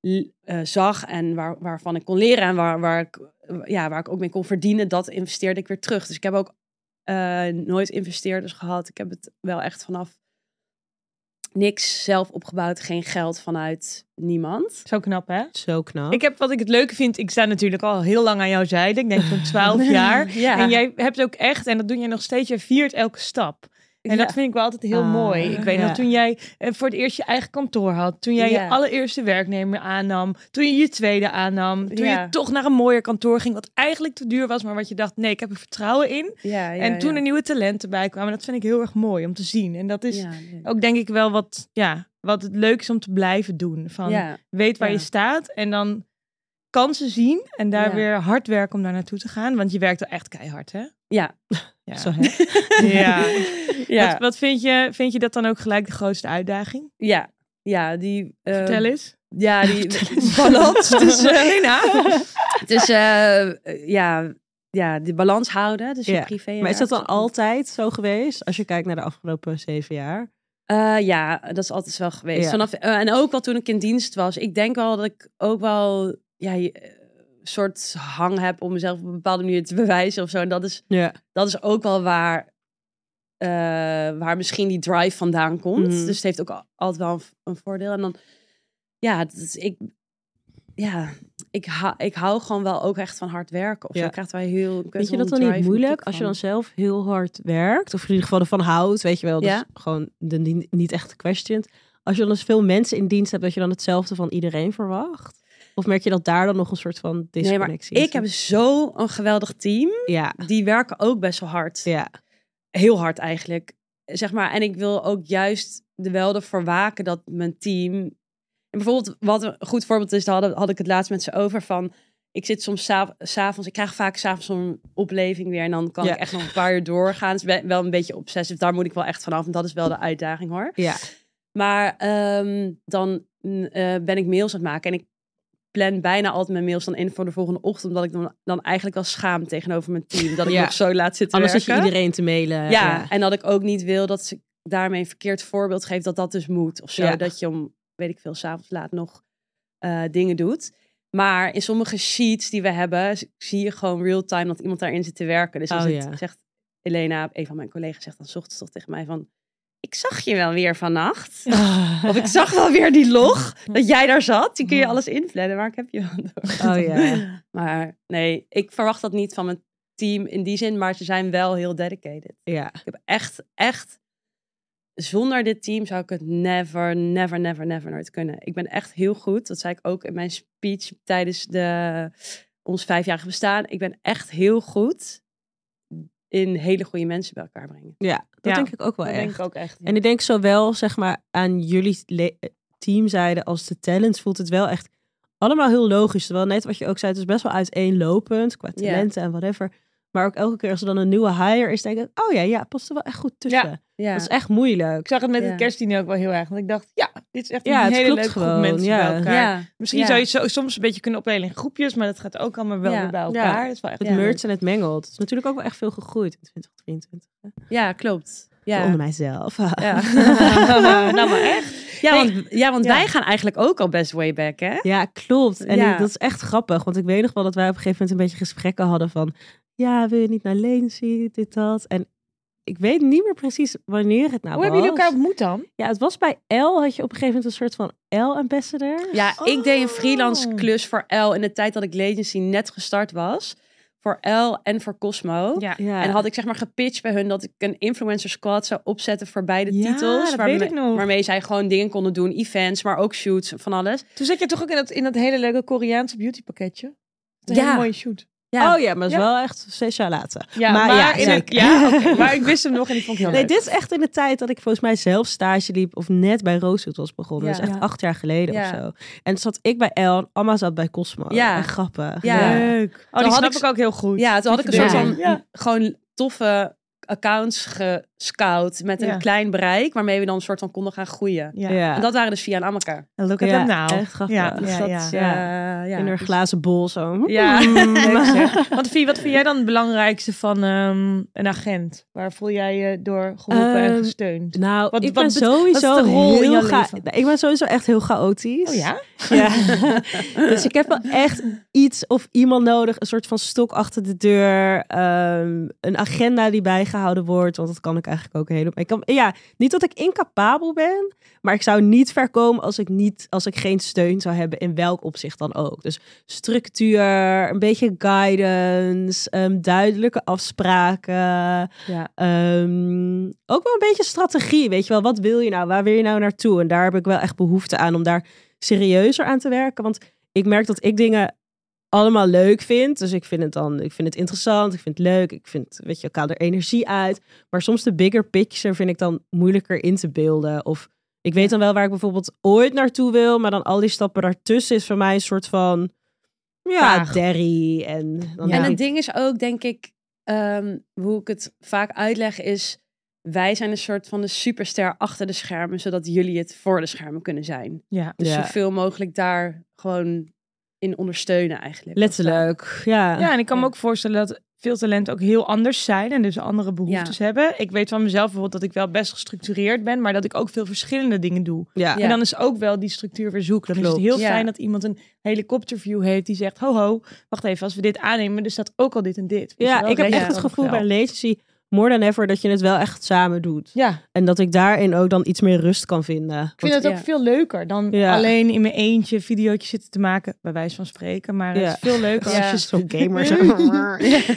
C: l- eh, zag en waar, waarvan ik kon leren en waar, waar, ik, eh, ja, waar ik ook mee kon verdienen, dat investeerde ik weer terug. Dus ik heb ook eh, nooit investeerders gehad. Ik heb het wel echt vanaf niks zelf opgebouwd, geen geld vanuit niemand.
A: zo knap hè
B: Zo knap.
A: Ik heb wat ik het leuke vind. Ik sta natuurlijk al heel lang aan jouw zijde. Ik denk van 12 jaar.
C: Ja.
A: En jij hebt ook echt, en dat doe je nog steeds, jij viert elke stap. En
C: Ja.
A: dat vind ik wel altijd heel
B: Ah,
A: mooi. Ik weet
B: ja.
A: nog, toen jij eh, voor het eerst je eigen kantoor had. Toen jij
C: Ja.
A: je allereerste werknemer aannam. Toen je je tweede aannam. Toen
C: Ja.
A: je toch naar een mooier kantoor ging. Wat eigenlijk te duur was, maar wat je dacht, nee, ik heb er vertrouwen in.
C: Ja, ja,
A: en toen
C: ja.
A: er nieuwe talenten bij kwamen. Dat vind ik heel erg mooi om te zien. En dat is
C: Ja, nee.
A: ook denk ik wel wat, ja, wat het leuk is om te blijven doen. Van,
C: ja,
A: weet waar
C: Ja.
A: je staat en dan kansen zien en daar
C: Ja.
A: weer hard werken om daar naartoe te gaan. Want je werkt wel echt keihard, hè?
C: ja,
A: Ja.
B: Zo, hè?
A: ja. Wat,
C: ja, Ehm,
A: wat vind je? Vind je dat dan ook gelijk de grootste uitdaging?
C: ja, ja, die eh,
A: Vertel eens. nou.
C: ja, die balans tussen,
A: Elena.
C: tussen eh, ja, ja, de balans houden. Dus je
B: Ja,
C: privé. en
B: Maar is dat dan
C: werk.
B: altijd zo geweest? Als je kijkt naar de afgelopen zeven jaar.
C: Eh, ja, dat is altijd wel geweest.
B: Ja.
C: Vanaf, eh, en ook wel toen ik in dienst was. Ik denk wel dat ik ook wel ja, je- eh, soort hang heb om mezelf op een bepaalde manier te bewijzen of zo. En dat is,
B: Ja.
C: dat is ook wel waar, eh, waar misschien die drive vandaan komt.
B: Mhm.
C: Dus het heeft ook al- altijd wel een, v- een voordeel. En dan, ja, het is- ik, ja ik, hou, ik hou gewoon wel ook echt van hard werken. Of
B: Ja.
C: zo Ik krijg wij heel... ik
B: Vind je
C: zo'n
B: dat dan
C: drive en
B: niet moeilijk
C: kick
B: als je
C: van.
B: dan zelf heel hard werkt? Of in ieder geval ervan houdt, weet je wel. Dus
C: Ja.
B: gewoon de, ni- niet echt questioned. Als je dan dus veel mensen in dienst hebt, dat je dan hetzelfde van iedereen verwacht? Of merk je dat daar dan nog een soort van
C: Nee,
B: disconnectie
C: maar
B: in
C: ik heb zo'n geweldig team.
B: zit? Ja,
C: Die werken ook best wel hard.
B: ja.
C: heel hard eigenlijk. Zeg maar, en ik wil ook juist er wel ervoor waken dat mijn team. En bijvoorbeeld, wat een goed voorbeeld is, daar hadden- had ik het laatst met ze over van. Ik zit soms s'av- s'avonds, ik krijg vaak s'avonds zo'n opleving weer. En dan kan
B: Ja.
C: ik echt nog een paar uur doorgaan. Het is we- wel een beetje obsessief. Daar moet ik wel echt vanaf. En dat is wel de uitdaging hoor.
B: ja.
C: Maar ehm, dan mm, eh, ben ik mails aan het maken. En ik plan bijna altijd mijn mails dan in voor de volgende ochtend. Omdat ik dan, dan eigenlijk wel schaam tegenover mijn team. Dat ik
B: Ja.
C: nog zo laat zit te
B: Anders zit je
C: werken.
B: iedereen te mailen.
C: Ja, en dat ik ook niet wil dat ze daarmee een verkeerd voorbeeld geeft dat dat dus moet. Of zo,
B: Ja.
C: dat je om, weet ik veel, s'avonds laat nog eh, dingen doet. Maar in sommige sheets die we hebben, z- zie je gewoon real-time dat iemand daarin zit te werken. Dus als
B: Oh,
C: het
B: ja.
C: zegt Elena, een van mijn collega's, zegt dan 's ochtends toch tegen mij van... Ik zag je wel weer vannacht.
B: Ah.
C: Of ik zag wel weer die log, dat jij daar zat. Die kun je alles inplannen, maar ik heb je wel door.
B: Oh ja.
C: Maar nee, ik verwacht dat niet van mijn team in die zin. Maar ze zijn wel heel dedicated.
B: Ja.
C: Ik heb echt, echt... Zonder dit team zou ik het never, never, never, never nooit kunnen. Ik ben echt heel goed. Dat zei ik ook in mijn speech tijdens de, ons vijfjarige bestaan. Ik ben echt heel goed in hele goede mensen bij elkaar brengen.
B: ja, dat
A: Ja,
B: denk ik ook wel
C: Dat
B: echt.
C: denk ik ook echt. ja.
B: En ik denk zowel zeg maar aan jullie le- teamzijde als de talents voelt het wel echt allemaal heel logisch. Terwijl net wat je ook zei, het is best wel uiteenlopend qua
C: Ja.
B: talenten en whatever. Maar ook elke keer als er dan een nieuwe hire is, denk ik, oh ja, ja, het past er wel echt goed tussen.
C: ja.
B: Dat is echt moeilijk.
A: Ik zag het met
C: Ja.
A: het kerstdiner ook wel heel erg. Want ik dacht, ja, dit is echt
B: Ja,
A: een
B: het
A: hele
B: klopt
A: leuke groep
B: gewoon,
A: mensen
B: ja.
A: bij elkaar.
C: ja.
A: Misschien
C: ja.
A: zou je het zo, soms een beetje kunnen opdelen in groepjes. Maar dat gaat ook allemaal wel
C: Ja.
A: weer bij
B: Ja.
A: elkaar. Dat is wel echt
B: Het
C: Ja.
A: leuk.
B: merge en het mengelt. Het is natuurlijk ook wel echt veel gegroeid in 2023.
C: Ja, klopt. Ja.
B: Onder mijzelf.
C: Ja.
A: nou, maar echt.
C: ja,
A: Nee.
C: want, ja, want
A: Ja.
C: wij gaan eigenlijk ook al best way back, hè?
B: Ja, klopt. En
C: Ja.
B: dat is echt grappig. Want ik weet nog wel dat wij op een gegeven moment een beetje gesprekken hadden van... Ja, wil je niet naar Leensie, dit, dat. En ik weet niet meer precies wanneer het
A: Hoe
B: nou was.
A: hebben jullie elkaar ontmoet dan?
B: Ja, het was bij L. Had je op een gegeven moment een soort van L-ambassador?
C: Ja, ik deed een freelance
A: Oh.
C: klus voor L in de tijd dat ik Legency net gestart was. Voor L en voor Cosmo.
A: Ja.
B: Ja.
C: En had ik zeg maar gepitcht bij hun dat ik een influencer squad zou opzetten voor beide
A: Ja,
C: titels.
A: dat
C: waarme-
A: weet ik nog.
C: Waarmee zij gewoon dingen konden doen, events, maar ook shoots, van alles.
A: Toen zat je toch ook in dat, in dat hele leuke Koreaanse beautypakketje? Dat
C: Ja.
A: hele mooie shoot.
C: Ja.
B: Oh ja, maar het is
A: Ja.
B: wel echt zes jaar later.
A: Ja,
B: Maar
A: maar,
B: ja,
A: in het,
B: zeker.
A: ja oké. maar ik wist hem nog en die vond ik heel
B: Nee,
A: leuk.
B: dit is echt in de tijd dat ik volgens mij zelf stage liep of net bij Rosewood was begonnen.
C: Ja.
B: Dus echt
A: Ja.
B: acht jaar geleden
C: Ja.
B: of zo. En zat ik bij L en Amma zat bij Cosmo.
C: Ja.
B: Echt grappig.
C: Ja.
A: Leuk. Oh,
C: Toen
A: die
C: had
A: snap
C: ik-
A: ik ook heel goed.
C: Ja, toen had ik een soort
B: Ja.
C: van
A: Ja.
C: gewoon toffe accounts gescout met een
A: Ja.
C: klein bereik, waarmee we dan een soort van konden gaan groeien.
A: Ja.
B: Ja.
C: En dat waren dus via en Amaka.
A: Look at
B: Ja,
A: them now.
B: echt grappig.
A: Ja,
C: Dus
A: ja,
C: dat,
A: ja.
C: eh, ja. Dus-
B: In haar glazen bol zo.
C: Ja.
A: Leuk zeg. Want Vie, wat vind jij dan het belangrijkste van ehm, een agent? Waar voel jij je door geholpen en
B: Ehm,
A: gesteund?
B: Nou,
A: Wat-
B: ik
A: wat
B: ben
A: bet-
B: sowieso
A: wat is de rol in
B: heel
A: jouw
B: cha-
A: leven?
B: Nee, Ik ben sowieso echt heel chaotisch.
A: Oh ja?
B: Ja. dus ik heb wel echt iets of iemand nodig. Een soort van stok achter de deur. ehm, een agenda die bijgehouden wordt. Want dat kan ik eigenlijk ook heel... Ik kan, ja, niet dat ik incapabel ben. Maar ik zou niet ver komen als ik, niet, als ik geen steun zou hebben. In welk opzicht dan ook. Dus structuur, een beetje guidance. ehm, duidelijke afspraken.
C: Ja.
B: Ehm, ook wel een beetje strategie, weet je wel. Wat wil je nou? Waar wil je nou naartoe? En daar heb ik wel echt behoefte aan om daar serieuzer aan te werken. Want ik merk dat ik dingen allemaal leuk vind. Dus ik vind het dan, ik vind het interessant, ik vind het leuk, ik vind, weet je, ik haal er energie uit. Maar soms de bigger picture vind ik dan moeilijker in te beelden. Of ik weet dan wel waar ik bijvoorbeeld ooit naartoe wil, maar dan al die stappen daartussen is voor mij een soort van, ja,
A: Vaag.
B: derry. En dan
A: Ja.
B: denk
C: En
B: ik,
C: het ding is ook, denk ik, ehm, hoe ik het vaak uitleg, is wij zijn een soort van de superster achter de schermen, zodat jullie het voor de schermen kunnen zijn.
A: Ja.
C: Dus
B: Ja.
C: zoveel mogelijk daar gewoon in ondersteunen eigenlijk.
B: letterlijk, ja.
A: Ja, en ik kan me
C: Ja.
A: ook voorstellen dat veel talenten ook heel anders zijn en dus andere behoeftes hebben. Ik weet van mezelf bijvoorbeeld dat ik wel best gestructureerd ben, maar dat ik ook veel verschillende dingen doe.
B: Ja.
C: Ja.
A: En dan is ook wel die structuur weer zoeken. Dan is
B: Klopt.
A: het heel
C: Ja.
A: fijn dat iemand een helikopterview heeft die zegt: ho ho, wacht even, als we dit aannemen, dus staat ook al dit en dit. Weet je
B: Ja,
A: wel,
B: ik heb
A: regel
B: echt het
A: dat nog
B: gevoel
A: wel.
B: bij latency, more than ever, dat je het wel echt samen doet.
A: Ja,
B: En dat ik daarin ook dan iets meer rust kan vinden.
A: ik vind het ook
C: ja.
A: veel leuker dan
B: Ja.
A: alleen in mijn eentje videootjes zitten te maken, bij wijze van spreken. Maar
B: Ja.
A: het is veel leuker
C: Ja.
A: als je
B: Zo'n gamer.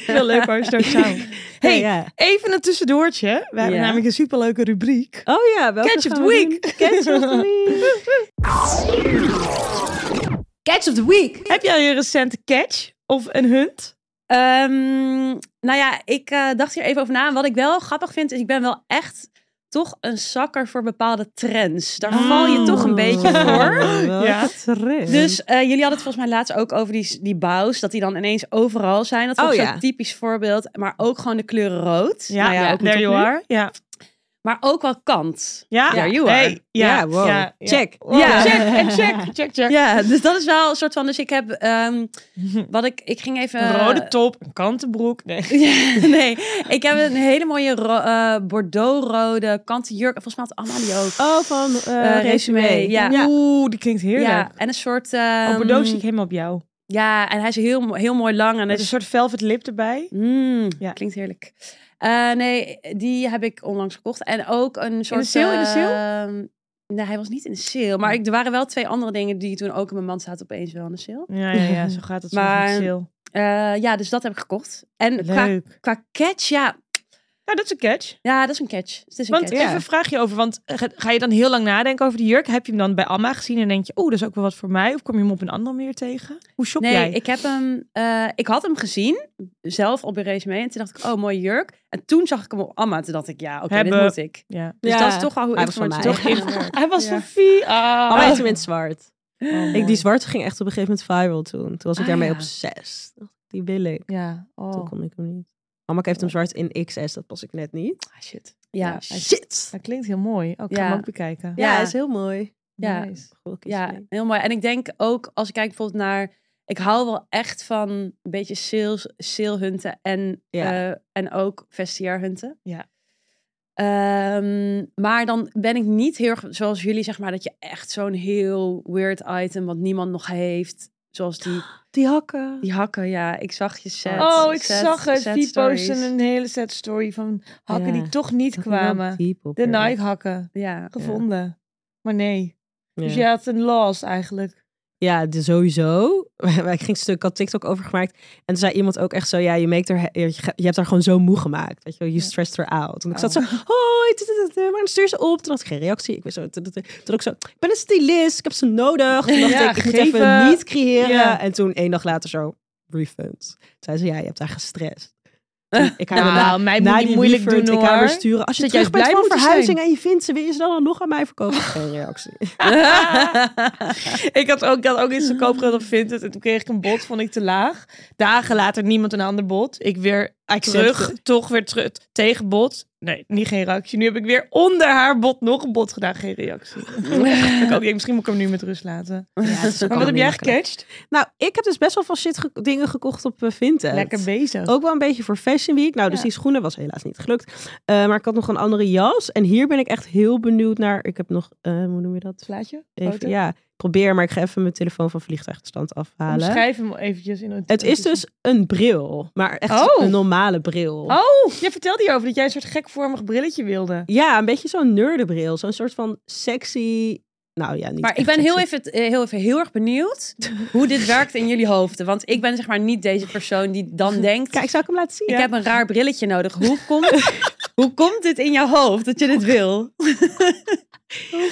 A: veel leuker als je daar samen. Hey,
B: ja.
A: even een tussendoortje. We hebben
C: Ja.
A: namelijk een superleuke rubriek.
B: Oh ja, welke
A: Catch of
B: gaan
A: the
B: we
A: week.
B: doen? Catch of the week.
C: Catch of the week.
A: Heb jij een recente catch of een hunt?
C: Ehm, nou ja, ik eh, dacht hier even over na. En Wat ik wel grappig vind, is ik ben wel echt toch een zakker voor bepaalde trends. Daar val je toch een
B: Oh.
C: beetje voor.
A: Ja.
B: Ja, terug.
C: Dus eh, jullie hadden het volgens mij laatst ook over die, die bouws, dat die dan ineens overal zijn. Dat is
B: Oh,
C: ook
B: ja.
C: zo'n typisch voorbeeld. Maar ook gewoon de kleuren rood. Nou ja, ook
A: there
C: niet
A: you
C: opnieuw.
A: are. Ja.
C: Maar ook wel kant.
A: Ja,
C: There you
A: Hey,
C: are.
A: ja,
B: Ja, wow.
A: ja, ja.
B: Check.
A: Wow.
C: Ja.
A: Check, en check, check, check.
C: Ja, dus dat is wel een soort van. Dus ik heb. ehm, wat ik. Ik ging even. eh,
A: Een rode top, een kantenbroek. Nee.
C: Ja, nee, ik heb een hele mooie ro- eh, bordeauxrode kanten jurk. Volgens mij had allemaal die ook.
B: Oh, van eh
C: Eh,
B: resume.
C: resume, ja.
A: Oeh, die klinkt heerlijk.
C: Ja, en een soort. ehm,
A: Oh, Bordeaux zie ik helemaal op jou.
C: Ja, en hij is heel, mo- heel mooi lang. En
A: Met
C: het
A: een
C: is.
A: soort velvet lip erbij.
C: Mm,
A: Ja.
C: Klinkt heerlijk. Eh, nee, die heb ik onlangs gekocht. En ook een soort.
A: sale, Oh. in de
C: sale? nee, hij was niet in de sale. Maar ik, er waren wel twee andere dingen die toen ook in mijn mand zaten opeens wel in de sale.
A: Ja, ja, ja zo gaat het soms
C: Maar-
A: met sale.
C: Eh, ja, dus dat heb ik gekocht. En qua,
A: Leuk.
C: qua catch, ja.
A: Nou, dat is een catch.
C: Ja, dat is een catch. Het is een
A: Want
C: catch.
A: even een vraagje over, want eh, ga- ga je dan heel lang nadenken over die jurk? Heb je hem dan bij Amma gezien en denk je, oeh, dat is ook wel wat voor mij? Of kom je hem op een andere manier tegen? Hoe shop
C: nee,
A: jij?
C: ik heb hem. eh, ik had hem gezien zelf op een race mee. En toen dacht ik, oh, mooie jurk. En toen zag ik hem op Amma. Toen dacht ik, ja, oké, dit
A: Hebben.
C: moet ik.
A: Ja.
C: Dus
B: Ja.
C: dat is toch wel hoe
B: Hij
C: ik
B: was van
C: het
B: mij.
C: toch in.
A: Hij was
C: Ja.
A: een vie.
B: Oh,
A: Ah.
B: hij is hem in het zwart. Ik, die zwarte ging echt op een gegeven moment viral toen. Toen was ik
C: Ah,
B: daarmee
C: ja.
B: obsessed. Die wil ik.
A: Ja, oh.
B: Toen kon ik hem niet. Mama heeft hem zwart in XS, dat pas ik net niet.
A: Ah, shit.
C: Ja,
B: Ja,
C: hij is-
B: shit.
A: Dat klinkt heel mooi. Oh, ik ga
C: Ja.
A: hem ook bekijken.
B: Ja,
C: Ja.
B: is heel mooi.
C: Ja.
A: Nice.
B: Goh, kies
C: ja,
B: mee.
C: heel mooi. En ik denk ook als ik kijk bijvoorbeeld naar. Ik hou wel echt van een beetje sales, sale hunten en,
B: Ja.
C: eh, en ook vestiair hunten.
A: Ja.
C: Ehm, maar dan ben ik niet heel erg zoals jullie, zeg maar, dat je echt zo'n heel weird item wat niemand nog heeft. Zoals die,
B: Die hakken.
C: die hakken, ja. Ik zag je set.
A: Oh, ik
C: set-
A: zag het.
C: set
A: Die
C: stories.
A: posten een hele set story van hakken
B: Ja.
A: die toch niet kwamen. De Nike hakken.
C: Ja.
A: Gevonden. Maar nee. Dus
B: Ja.
A: jij had een loss eigenlijk.
B: Ja, de sowieso. ik ging een stuk, had TikTok over gemaakt. En toen zei iemand ook echt zo, ja, je, maakt er, je, je hebt haar gewoon zo moe gemaakt. Weet je wel, you
A: Ja.
B: stressed her out. En ik
A: Oh.
B: zat zo, hoi, tut, tut, tut, maar dan stuur ze op. Toen had ik geen reactie. Ik was zo, tut, tut, tut. toen ook zo, ik ben een stylist, ik heb ze nodig. Toen dacht
A: Ja,
B: ik, ik moet
A: gegeven.
B: even niet creëren.
A: Ja.
B: En toen één dag later zo, refund. Toen zei ze, ja, je hebt haar gestrest. Toen Ik haar daarna-
A: Nou, mij
B: na
A: moet
B: die
A: niet moeilijk
B: refund,
A: doen
B: ik haar
A: hoor.
B: weer sturen. Als je
A: Dat jij
B: terug bent
A: blij
B: van
A: moet
B: verhuizing en je vindt ze, wil je ze dan nog aan mij verkopen? Geen reactie.
A: ik had ook, ik had ook iets te koop gehad op Vinted. En toen kreeg ik een bod, vond ik te laag. Dagen later niemand een ander bod. Ik weer
B: Accepten.
A: terug, toch weer terug tegen bod. Nee, niet geen reactie. Nu heb ik weer onder haar bod nog een bod gedaan. Geen reactie. ik ook, denk, misschien moet ik hem nu met rust laten. Maar wat heb jij gecatcht?
B: Nou, ik heb dus best wel veel shit ge- dingen gekocht op eh, Vinted.
A: Lekker bezig.
B: Ook wel een beetje voor Fashion Week. Nou, dus
A: Ja.
B: die schoenen was helaas niet gelukt. Eh, maar ik had nog een andere jas. En hier ben ik echt heel benieuwd naar. Ik heb nog, eh, hoe noem je dat?
A: Plaatje? Foto?
B: Even, ja, ik probeer, maar ik ga even mijn telefoon van vliegtuigstand afhalen.
A: Schrijf hem eventjes in
B: Het is dus een bril, maar echt
A: Oh.
B: een normale bril.
A: Oh, jij vertelde hierover dat jij een soort gekvormig brilletje wilde.
B: Ja, een beetje zo'n nerdenbril. Zo'n soort van sexy... Nou ja, niet
C: Maar ik
B: echt
C: ben heel
B: sexy.
C: even, eh, heel even heel erg benieuwd hoe dit werkt in jullie hoofden. Want ik ben zeg maar niet deze persoon die dan denkt...
B: Kijk, zou ik hem laten zien?
C: Ik heb een raar brilletje nodig. Hoe komt, hoe komt dit in jouw hoofd dat je dit wil?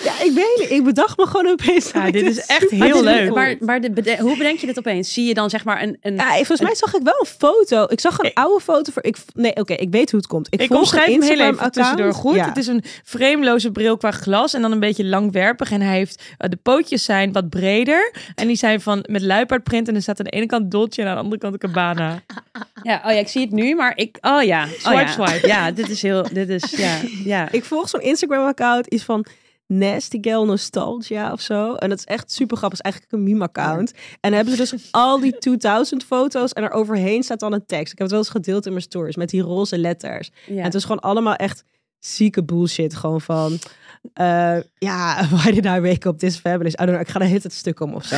B: Ja, ik weet niet. Ik bedacht me gewoon opeens.
A: Ja,
B: dat ik
A: dit is echt
B: super
A: heel
B: cool
A: leuk.
B: vond.
C: Maar, maar de bede- hoe bedenk je dit opeens? Zie je dan zeg maar een... een...
B: Ja, ik- volgens mij zag ik wel een foto. Ik zag een
A: Ik-
B: oude foto voor. Ik, nee, oké, ik weet hoe het komt. Ik,
A: Ik
B: volg
A: omschrijf
B: een
A: hem heel
B: Instagram
A: even tussendoor goed.
B: Ja.
A: Het is een frameloze bril qua glas en dan een beetje langwerpig. En hij heeft, eh, de pootjes zijn wat breder. En die zijn van met luipaardprint. En er staat aan de ene kant Dolce en aan de andere kant
B: Ah,
A: Cabana.
C: Ja, oh ja, ik zie het nu, maar ik... Oh ja. Oh
A: Swipe,
C: ja.
A: swipe.
C: Ja, dit is heel... Dit is... Ja, ja.
B: Ik volg zo'n Instagram-account, iets van Nasty Gal Nostalgia of zo. En dat is echt super grappig. is eigenlijk een meme-account. En dan hebben ze dus al die 2000 foto's en er overheen staat dan een tekst. Ik heb het wel eens gedeeld in mijn stories met die roze letters.
C: Ja.
B: En het is gewoon allemaal echt zieke bullshit. Gewoon van, eh, ja, why did I wake up this fabulous? I don't know, ik ga de hele tijd stuk om of zo.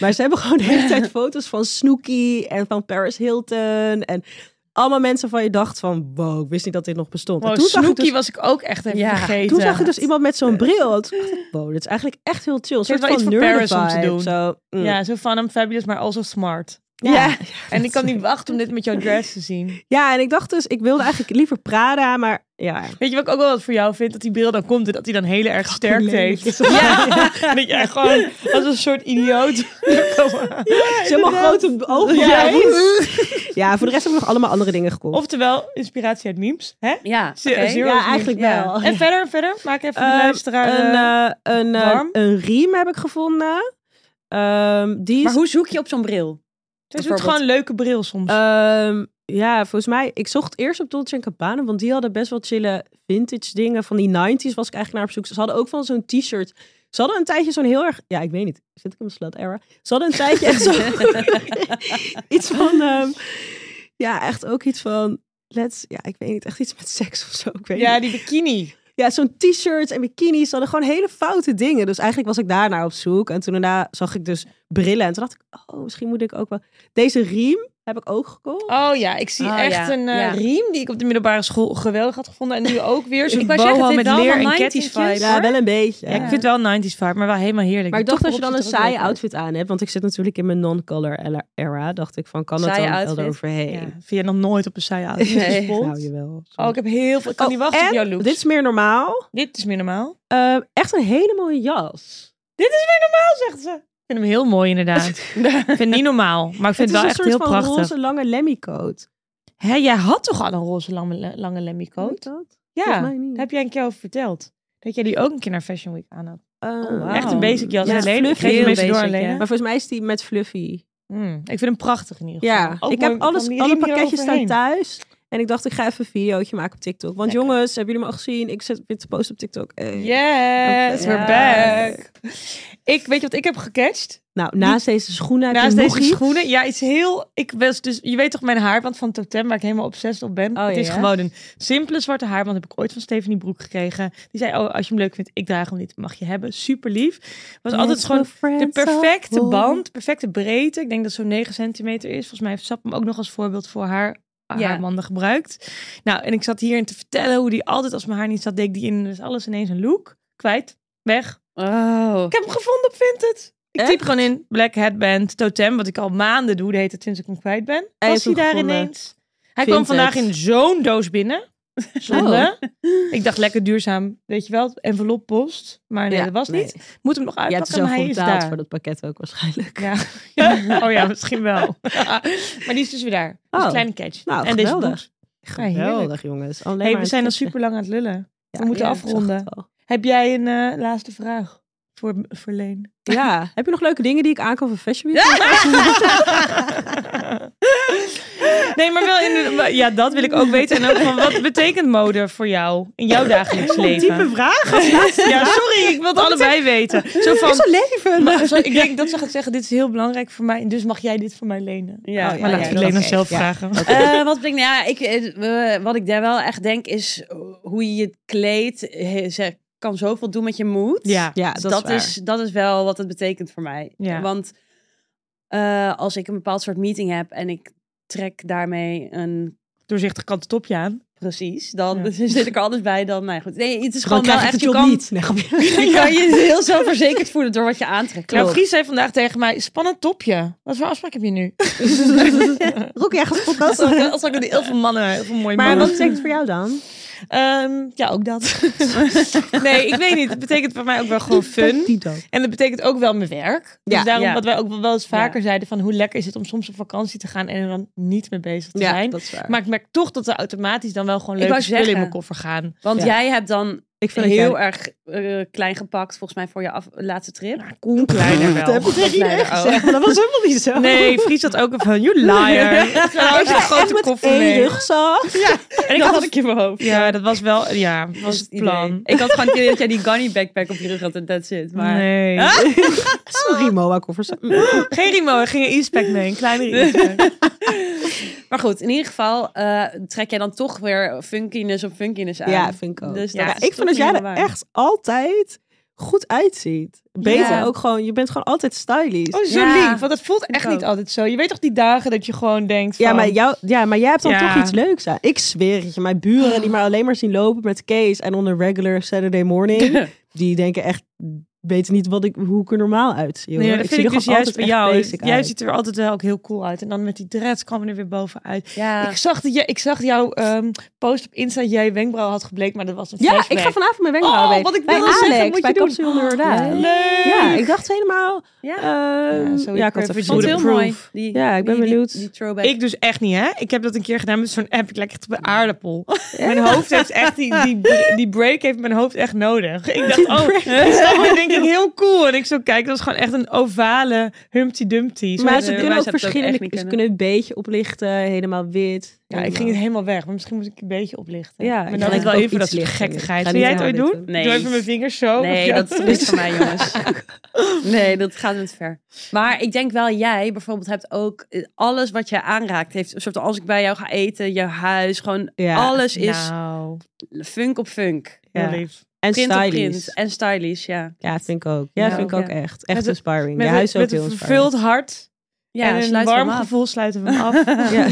B: maar ze hebben gewoon de hele tijd foto's van Snooki en van Paris Hilton. En allemaal mensen van je dacht van, wow, ik wist niet dat dit nog bestond. En
A: Wow,
B: toen, zag ik
A: Snoekie
B: dus,
A: was ik ook echt even
C: Ja,
A: vergeten.
B: toen zag ik dus iemand met zo'n bril. En toen dacht ik, wow, dit is eigenlijk echt heel chill. Een soort
A: wel
B: van
A: iets voor
B: nerd
A: Paris om te
B: vibe,
A: doen.
B: Zo. Mm.
A: Ja, zo van hem fabulous, maar also smart.
C: Ja.
A: En ik kan niet wachten om dit met jouw dress te zien.
B: ja, en ik dacht dus, ik wilde eigenlijk liever Prada, maar ja.
A: Weet je wat ik ook wel wat voor jou vind? Dat die bril dan komt en dat hij dan heel erg sterkte
B: lelijk.
A: heeft. Ja. En dat jij gewoon als een soort idioot...
B: Ze hebben al grote ogen.
A: Ja,
B: Ja, ja, voor de rest hebben we nog allemaal andere dingen gekocht.
A: Oftewel, inspiratie uit memes. Hè?
C: Ja,
A: Ze-
C: oké.
A: ze-
B: ja, eigenlijk
C: Ja.
B: wel.
A: En verder, verder. Maak even de
B: Ehm,
A: luisteraar... eh,
B: een, eh, een, eh,
A: warm.
B: een riem heb ik gevonden. Ehm, die
C: Maar
B: is,
C: hoe zoek je op zo'n bril?
A: ze doet
C: bijvoorbeeld-
A: gewoon een leuke bril soms.
B: ehm, ja, volgens mij, ik zocht eerst op Dolce Gabbana, want die hadden best wel chille vintage dingen. Van die 90s was ik eigenlijk naar op zoek. Ze hadden ook van zo'n t-shirt. Ze hadden een tijdje zo'n heel erg, ja, ik weet niet, zit ik in mijn slut era? Ze hadden een tijdje echt zo, iets van, ehm, ja, echt ook iets van, let's, ja, ik weet niet, echt iets met seks of zo. Ik weet niet.
A: ja, die bikini.
B: Ja, zo'n t-shirts en bikinis. Ze hadden gewoon hele foute dingen. Dus eigenlijk was ik daarnaar op zoek. En toen daarna zag ik dus brillen. En toen dacht ik, oh, misschien moet ik ook wel... Deze riem heb ik ook gekocht.
A: Oh ja, ik zie
C: Oh,
A: echt
C: ja,
A: een eh,
C: ja.
A: riem die ik op de middelbare school geweldig had gevonden. En nu ook weer zo'n
C: Ik wou zeggen,
A: boa
C: het
A: met
C: heeft wel
A: leer en
C: allemaal 90s
A: kettingjes.
C: vibe.
A: Ja,
B: Ja, wel een beetje.
A: ik vind het wel een 90s vibe, maar wel helemaal heerlijk.
B: Maar ik dacht als je dan een saaie
A: saai
B: outfit aan hebt. Want ik zit natuurlijk in mijn non-color era. Dacht ik van, kan het
C: Saaie
B: dan
C: outfit.
B: wel overheen?
A: vind je nog nooit op een saaie outfit
C: Nee.
A: gespot?
B: Nou, jawel.
A: Oh, ik heb heel veel. Ik kan
B: Oh,
A: niet wachten op
B: en
A: jouw look.
B: Dit is meer normaal.
A: Dit is meer normaal.
B: Eh, echt een hele mooie jas.
A: Dit is weer normaal, zegt ze. Ik vind hem heel mooi inderdaad. ik
C: Oh.
A: vind het niet normaal, maar ik vind het, wel
B: is een
A: echt
B: soort
A: heel
B: van
A: prachtig.
B: roze lange lemmy coat.
A: Hè, jij had toch al een roze lange, lange lemmy coat?
B: dat?
A: Ja,
B: Volgens mij niet.
A: heb jij een keer over verteld. Dat jij die ook een keer naar Fashion Week aan had.
B: Eh,
C: wauw.
A: Echt een basic jas.
B: Ja,
A: alleen. Ik
B: fluffy.
A: geef hem
C: Heel
A: even door
C: basic,
A: alleen.
C: ja.
B: Maar volgens mij is die met Fluffy.
A: Hm, ik vind hem prachtig in ieder geval.
B: Ja,
A: Ook
B: ik
A: mooi
B: heb
A: van
B: alles,
A: die
B: alle
A: riem
B: pakketjes staan
A: hieroverheen.
B: thuis. En ik dacht, ik ga even een videootje maken op TikTok. Want jongens, hebben jullie me al gezien? Ik zet weer te posten op TikTok. Eh, Hey.
A: Yes, we're
C: Ja.
A: back. Ik weet je wat ik heb gecatcht?
B: Nou, naast deze schoenen heb
A: Naast
B: je nog
A: deze
B: iets.
A: schoenen. Ja, iets heel. Ik was dus. Je weet toch mijn haarband van Totem waar ik helemaal obsessed op ben.
B: Oh,
A: het
B: ja,
A: is
B: ja.
A: gewoon een simpele zwarte haarband heb ik ooit van Stephanie Broek gekregen. Die zei: "Oh, als je hem leuk vindt, ik draag hem niet. Mag je hebben. Super lief. Was altijd
B: Let's
A: gewoon
B: go friends
A: de perfecte
B: of
A: band, perfecte breedte. Ik denk dat zo'n 9 centimeter is. Volgens mij heeft Sap hem ook nog als voorbeeld voor haar, haar
C: Ja.
A: mannen gebruikt. Nou, en ik zat hierin te vertellen hoe die altijd als mijn haar niet zat, deed ik die in. Dus alles ineens een look. Kwijt. Weg.
C: Oh.
A: Ik heb hem gevonden op Vinted. Ik typ
B: Echt?
A: gewoon in Black Headband Totem, wat ik al maanden doe, de heet het sinds ik hem kwijt ben. Was
B: Hij heeft
A: hij
B: hem
A: daar
B: gevonden.
A: ineens? Hij kwam
B: Vinted.
A: vandaag in zo'n doos binnen. Zonde.
B: Oh.
A: Ik dacht lekker duurzaam, weet je wel, envelop post. Maar nee,
B: Ja,
A: dat was
B: nee.
A: niet. Moet hem nog
B: Je hebt er
A: uitpakken,
B: zelf
A: maar
B: voor
A: hij is
B: betaald
A: daar.
B: voor dat pakket ook waarschijnlijk.
A: Ja. Ja. oh ja, misschien wel. maar die is dus weer daar. Dus
B: Oh.
A: een kleine catch.
B: Nou,
A: en deze
B: geweldig.
A: box. Ja, heerlijk.
B: Geweldig, jongens. Alleen
A: Hey,
B: maar
A: we
B: een
A: zijn al
B: tikje.
A: super lang aan het lullen.
B: Ja,
A: we moeten
C: ja, ik
A: afronden.
B: zag het al.
A: Heb jij een eh, laatste vraag voor, voor Leen?
B: Ja. Heb je nog leuke dingen die ik aan kan voor Fashion Week?
A: nee, maar wel in de- ja, dat wil ik ook weten. En ook van wat betekent mode voor jou in jouw dagelijks
B: Diepe
A: leven?
B: vraag.
A: Ja, sorry, ik wil het allebei weten. Zo van,
B: Is al leven.
A: maar, zo- ik denk dat ze gaat zeggen: dit is heel belangrijk voor mij, dus mag jij dit voor mij lenen?
C: Ja,
B: Oh, ja,
A: Maar laten
B: ja,
A: we
B: dat-
A: Lena
B: oké,
A: zelf
B: ja.
A: vragen.
C: Eh, wat ben ik, nou ja, ik, eh, eh, wat ik daar wel echt denk is hoe je je kleedt. eh, Ze kan zoveel doen met je moed.
A: Ja.
B: Ja,
C: Dus
B: dat,
C: dat,
B: waar.
C: is, dat is wel wat het betekent voor mij.
A: Ja.
C: Want eh, als ik een bepaald soort meeting heb en ik trek daarmee een
A: Doorzichtig kant het topje aan.
C: precies, dan
A: Ja.
C: zit ik er anders bij dan. Nee, goed. Nee, het
B: Dan
C: is gewoon
B: krijg
C: wel
B: je het
C: echt. Je
B: job
C: kan,
B: niet. Nee, grapje.
C: je kan je heel zelfverzekerd voelen door wat je aantrekt.
A: Klauw Vries Nou, zei vandaag tegen mij: spannend topje. Wat voor afspraak heb je nu?
B: Roek, jij gaat
A: Als
B: podcast.
A: ik, als ik met heel veel mannen, heel veel mooie
B: Maar
A: mannen.
B: wat betekent het voor jou dan?
A: Ehm, ja, ook dat. nee, ik weet niet. Het betekent voor mij ook wel gewoon fun.
B: Tito.
A: En dat betekent ook wel mijn werk. Dus
B: Ja,
A: daarom
C: ja.
A: wat wij ook wel eens vaker zeiden van hoe lekker is het om soms op vakantie te gaan en er dan niet mee bezig te zijn.
B: dat is waar.
A: Maar ik merk toch dat er automatisch dan wel gewoon
C: Ik
A: leuke
C: wou
A: spullen in
C: zeggen.
A: mijn koffer gaan.
C: Want
B: Ja.
C: jij hebt dan
B: Ik vind
C: heel
B: dat jij...
C: erg eh, klein gepakt, volgens mij, voor je af- laatste trip.
A: Koen kleiner
B: Dat heb
A: wel.
B: ik tegen iedereen
C: Kleiner, oh.
B: gezegd, maar dat was helemaal niet zo.
A: Nee, Fries had ook van, you liar. Oh. Ik had ook een grote koffer
B: Eén
A: mee.
B: rugzak.
A: En ik had
C: ik in mijn hoofd.
A: Ja, dat was wel, ja, dat was het
C: Het idee.
A: plan.
C: Ik had gewoon het idee dat jij die Gunny backpack op je rug had en that's it. Maar
A: Nee. Oh.
B: Sorry, Moa koffers.
A: Mm, Geen riem, we gingen e-spec mee, een kleinere e-spec.
C: Maar goed, in ieder geval eh, trek jij dan toch weer funkiness op funkiness aan.
B: Ja, vind ik ook.
C: Dus
A: Ja,
C: dat
B: Ja,
C: is
B: ik
C: toch
B: vind dat jij
C: niet
B: er
C: helemaal waar.
B: echt altijd goed uitziet. Beter
C: Ja.
B: ook gewoon. Je bent gewoon altijd stylish.
A: Oh, zo
C: Ja.
A: lief, want dat voelt
C: Ik
A: echt
C: ook.
A: niet altijd zo. Je weet toch die dagen dat je gewoon denkt van...
B: ja, maar jou, ja, maar jij hebt dan
A: Ja.
B: toch iets leuks aan. Ik zweer het je. Mijn buren die maar alleen maar zien lopen met Kees en onder regular Saturday morning. die denken echt, weten niet wat ik, hoe ik er normaal uitzie. hoor.
A: Nee, dat
B: zie
A: vind ik
B: er
A: dus
B: gewoon
A: juist bij
B: altijd echt
A: jou.
B: basic
A: Jij
B: uit.
A: ziet er altijd wel ook heel cool uit. En dan met die dreads kwam er weer bovenuit.
C: Ja.
A: Ik, zag dat jij, ik zag jouw ehm, post op Insta dat jij je wenkbrauw had gebleekt, maar dat was een
B: Ja,
A: flashback.
B: ik ga vanavond mijn wenkbrauwen
A: Oh,
B: weten.
A: wat ik
B: bij
A: wilde
B: Alex,
A: zeggen, moet je
B: bij
A: doen.
B: Kapsel Jordaan.
A: Leuk!
B: Ja, ik dacht helemaal...
C: Ja.
B: ehm,
A: zo
B: ja, ik had
A: curvy
B: het
A: is goed.
B: even
C: vond het
B: gezien.
C: heel
A: Proof.
C: mooi. Die,
B: Ja, ik ben
C: die- die-
B: benieuwd.
C: Die, throwback.
A: Ik dus echt niet, hè? Ik heb dat een keer gedaan met zo'n app. Ik lijk echt op een aardappel. Mijn hoofd heeft echt die, die, die break heeft mijn hoofd echt nodig. Ik dacht, oh, dat denk ik heel cool. En ik zo kijk, dat is gewoon echt een ovale Humpty Dumpty. eh, Zo
B: Maar
A: met
B: ze
A: een-
B: kunnen ook
C: wij zouden het ook echt
B: verschillende...
C: niet
B: Ze
C: kunnen.
B: kunnen een beetje oplichten, helemaal wit.
A: ja, ik ging het helemaal weg, maar misschien moet ik een beetje oplichten.
B: Ja,
A: maar
B: ik
A: dan
B: ga
A: is wel
B: ook
A: even dat
B: iets
A: soort
B: lichter. Ik
A: gekkigheid.
B: ga
A: Zou jij
B: niet
A: het ooit
B: aan
A: doen?
C: dit doen.
A: Doe
C: Nee.
A: even mijn vingers zo.
C: Nee,
A: Ja.
C: dat is niet van mij, jongens. Nee, dat gaat met ver. Maar ik denk wel, jij bijvoorbeeld hebt ook... eh, Alles wat je aanraakt heeft... Een soort als ik bij jou ga eten, je huis, gewoon...
B: Ja.
C: Alles is
A: Nou,
C: funk op funk.
A: heel
B: Ja.
A: lief.
B: En
C: Print op
B: stylish.
C: print. En stylish, ja.
B: Ja, vind ik ook. Ja,
C: Ja,
B: vind ik
C: ook,
B: ook
C: ja.
B: echt. Echt
A: Met een-
B: inspiring.
A: Met,
B: ja,
A: een-
B: hij is ook
A: met
B: heel
A: een
B: inspiring.
A: vervuld hart
C: Ja,
A: en een
C: sluit hem
A: warm
C: af.
A: gevoel sluiten we hem af.
B: Ja.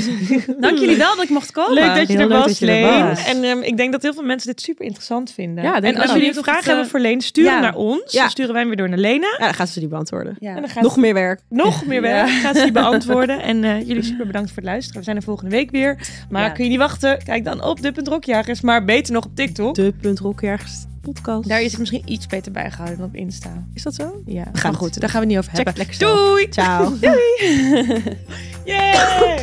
C: Dank jullie wel dat ik mocht komen.
A: Leuk dat je
B: Heel
A: er
B: leuk
A: was,
B: dat je er
A: Leen.
B: was.
A: En ehm, ik denk dat heel veel mensen dit super interessant vinden.
B: Ja, denk
A: en
B: ik
A: als
B: ook.
A: jullie
C: Benieuwd of
A: vragen
C: het,
A: hebben
C: eh,
A: voor Leen, stuur
C: ja.
A: hem naar ons.
B: Ja.
A: Dan sturen wij hem weer door naar Lena.
B: Ja, dan gaat ze die beantwoorden.
C: Ja.
A: En dan gaat
B: Nog meer werk.
A: nog meer
C: Ja.
A: werk. Gaat ze die beantwoorden. En eh, jullie super bedankt voor het luisteren. We zijn er volgende week weer. Maar
C: Ja.
A: kun je niet wachten? Kijk dan op de Drokjagers. Maar beter nog op TikTok.
B: De punt Rockjagers podcast.
A: Daar is het misschien iets beter bijgehouden dan op Insta.
B: Is dat zo?
A: Ja,
B: gaan
A: maar
B: het-
A: goed. Daar gaan we het niet over
B: Check
A: hebben.
B: lekker zelf.
A: Doei!
B: Ciao.
A: Yay!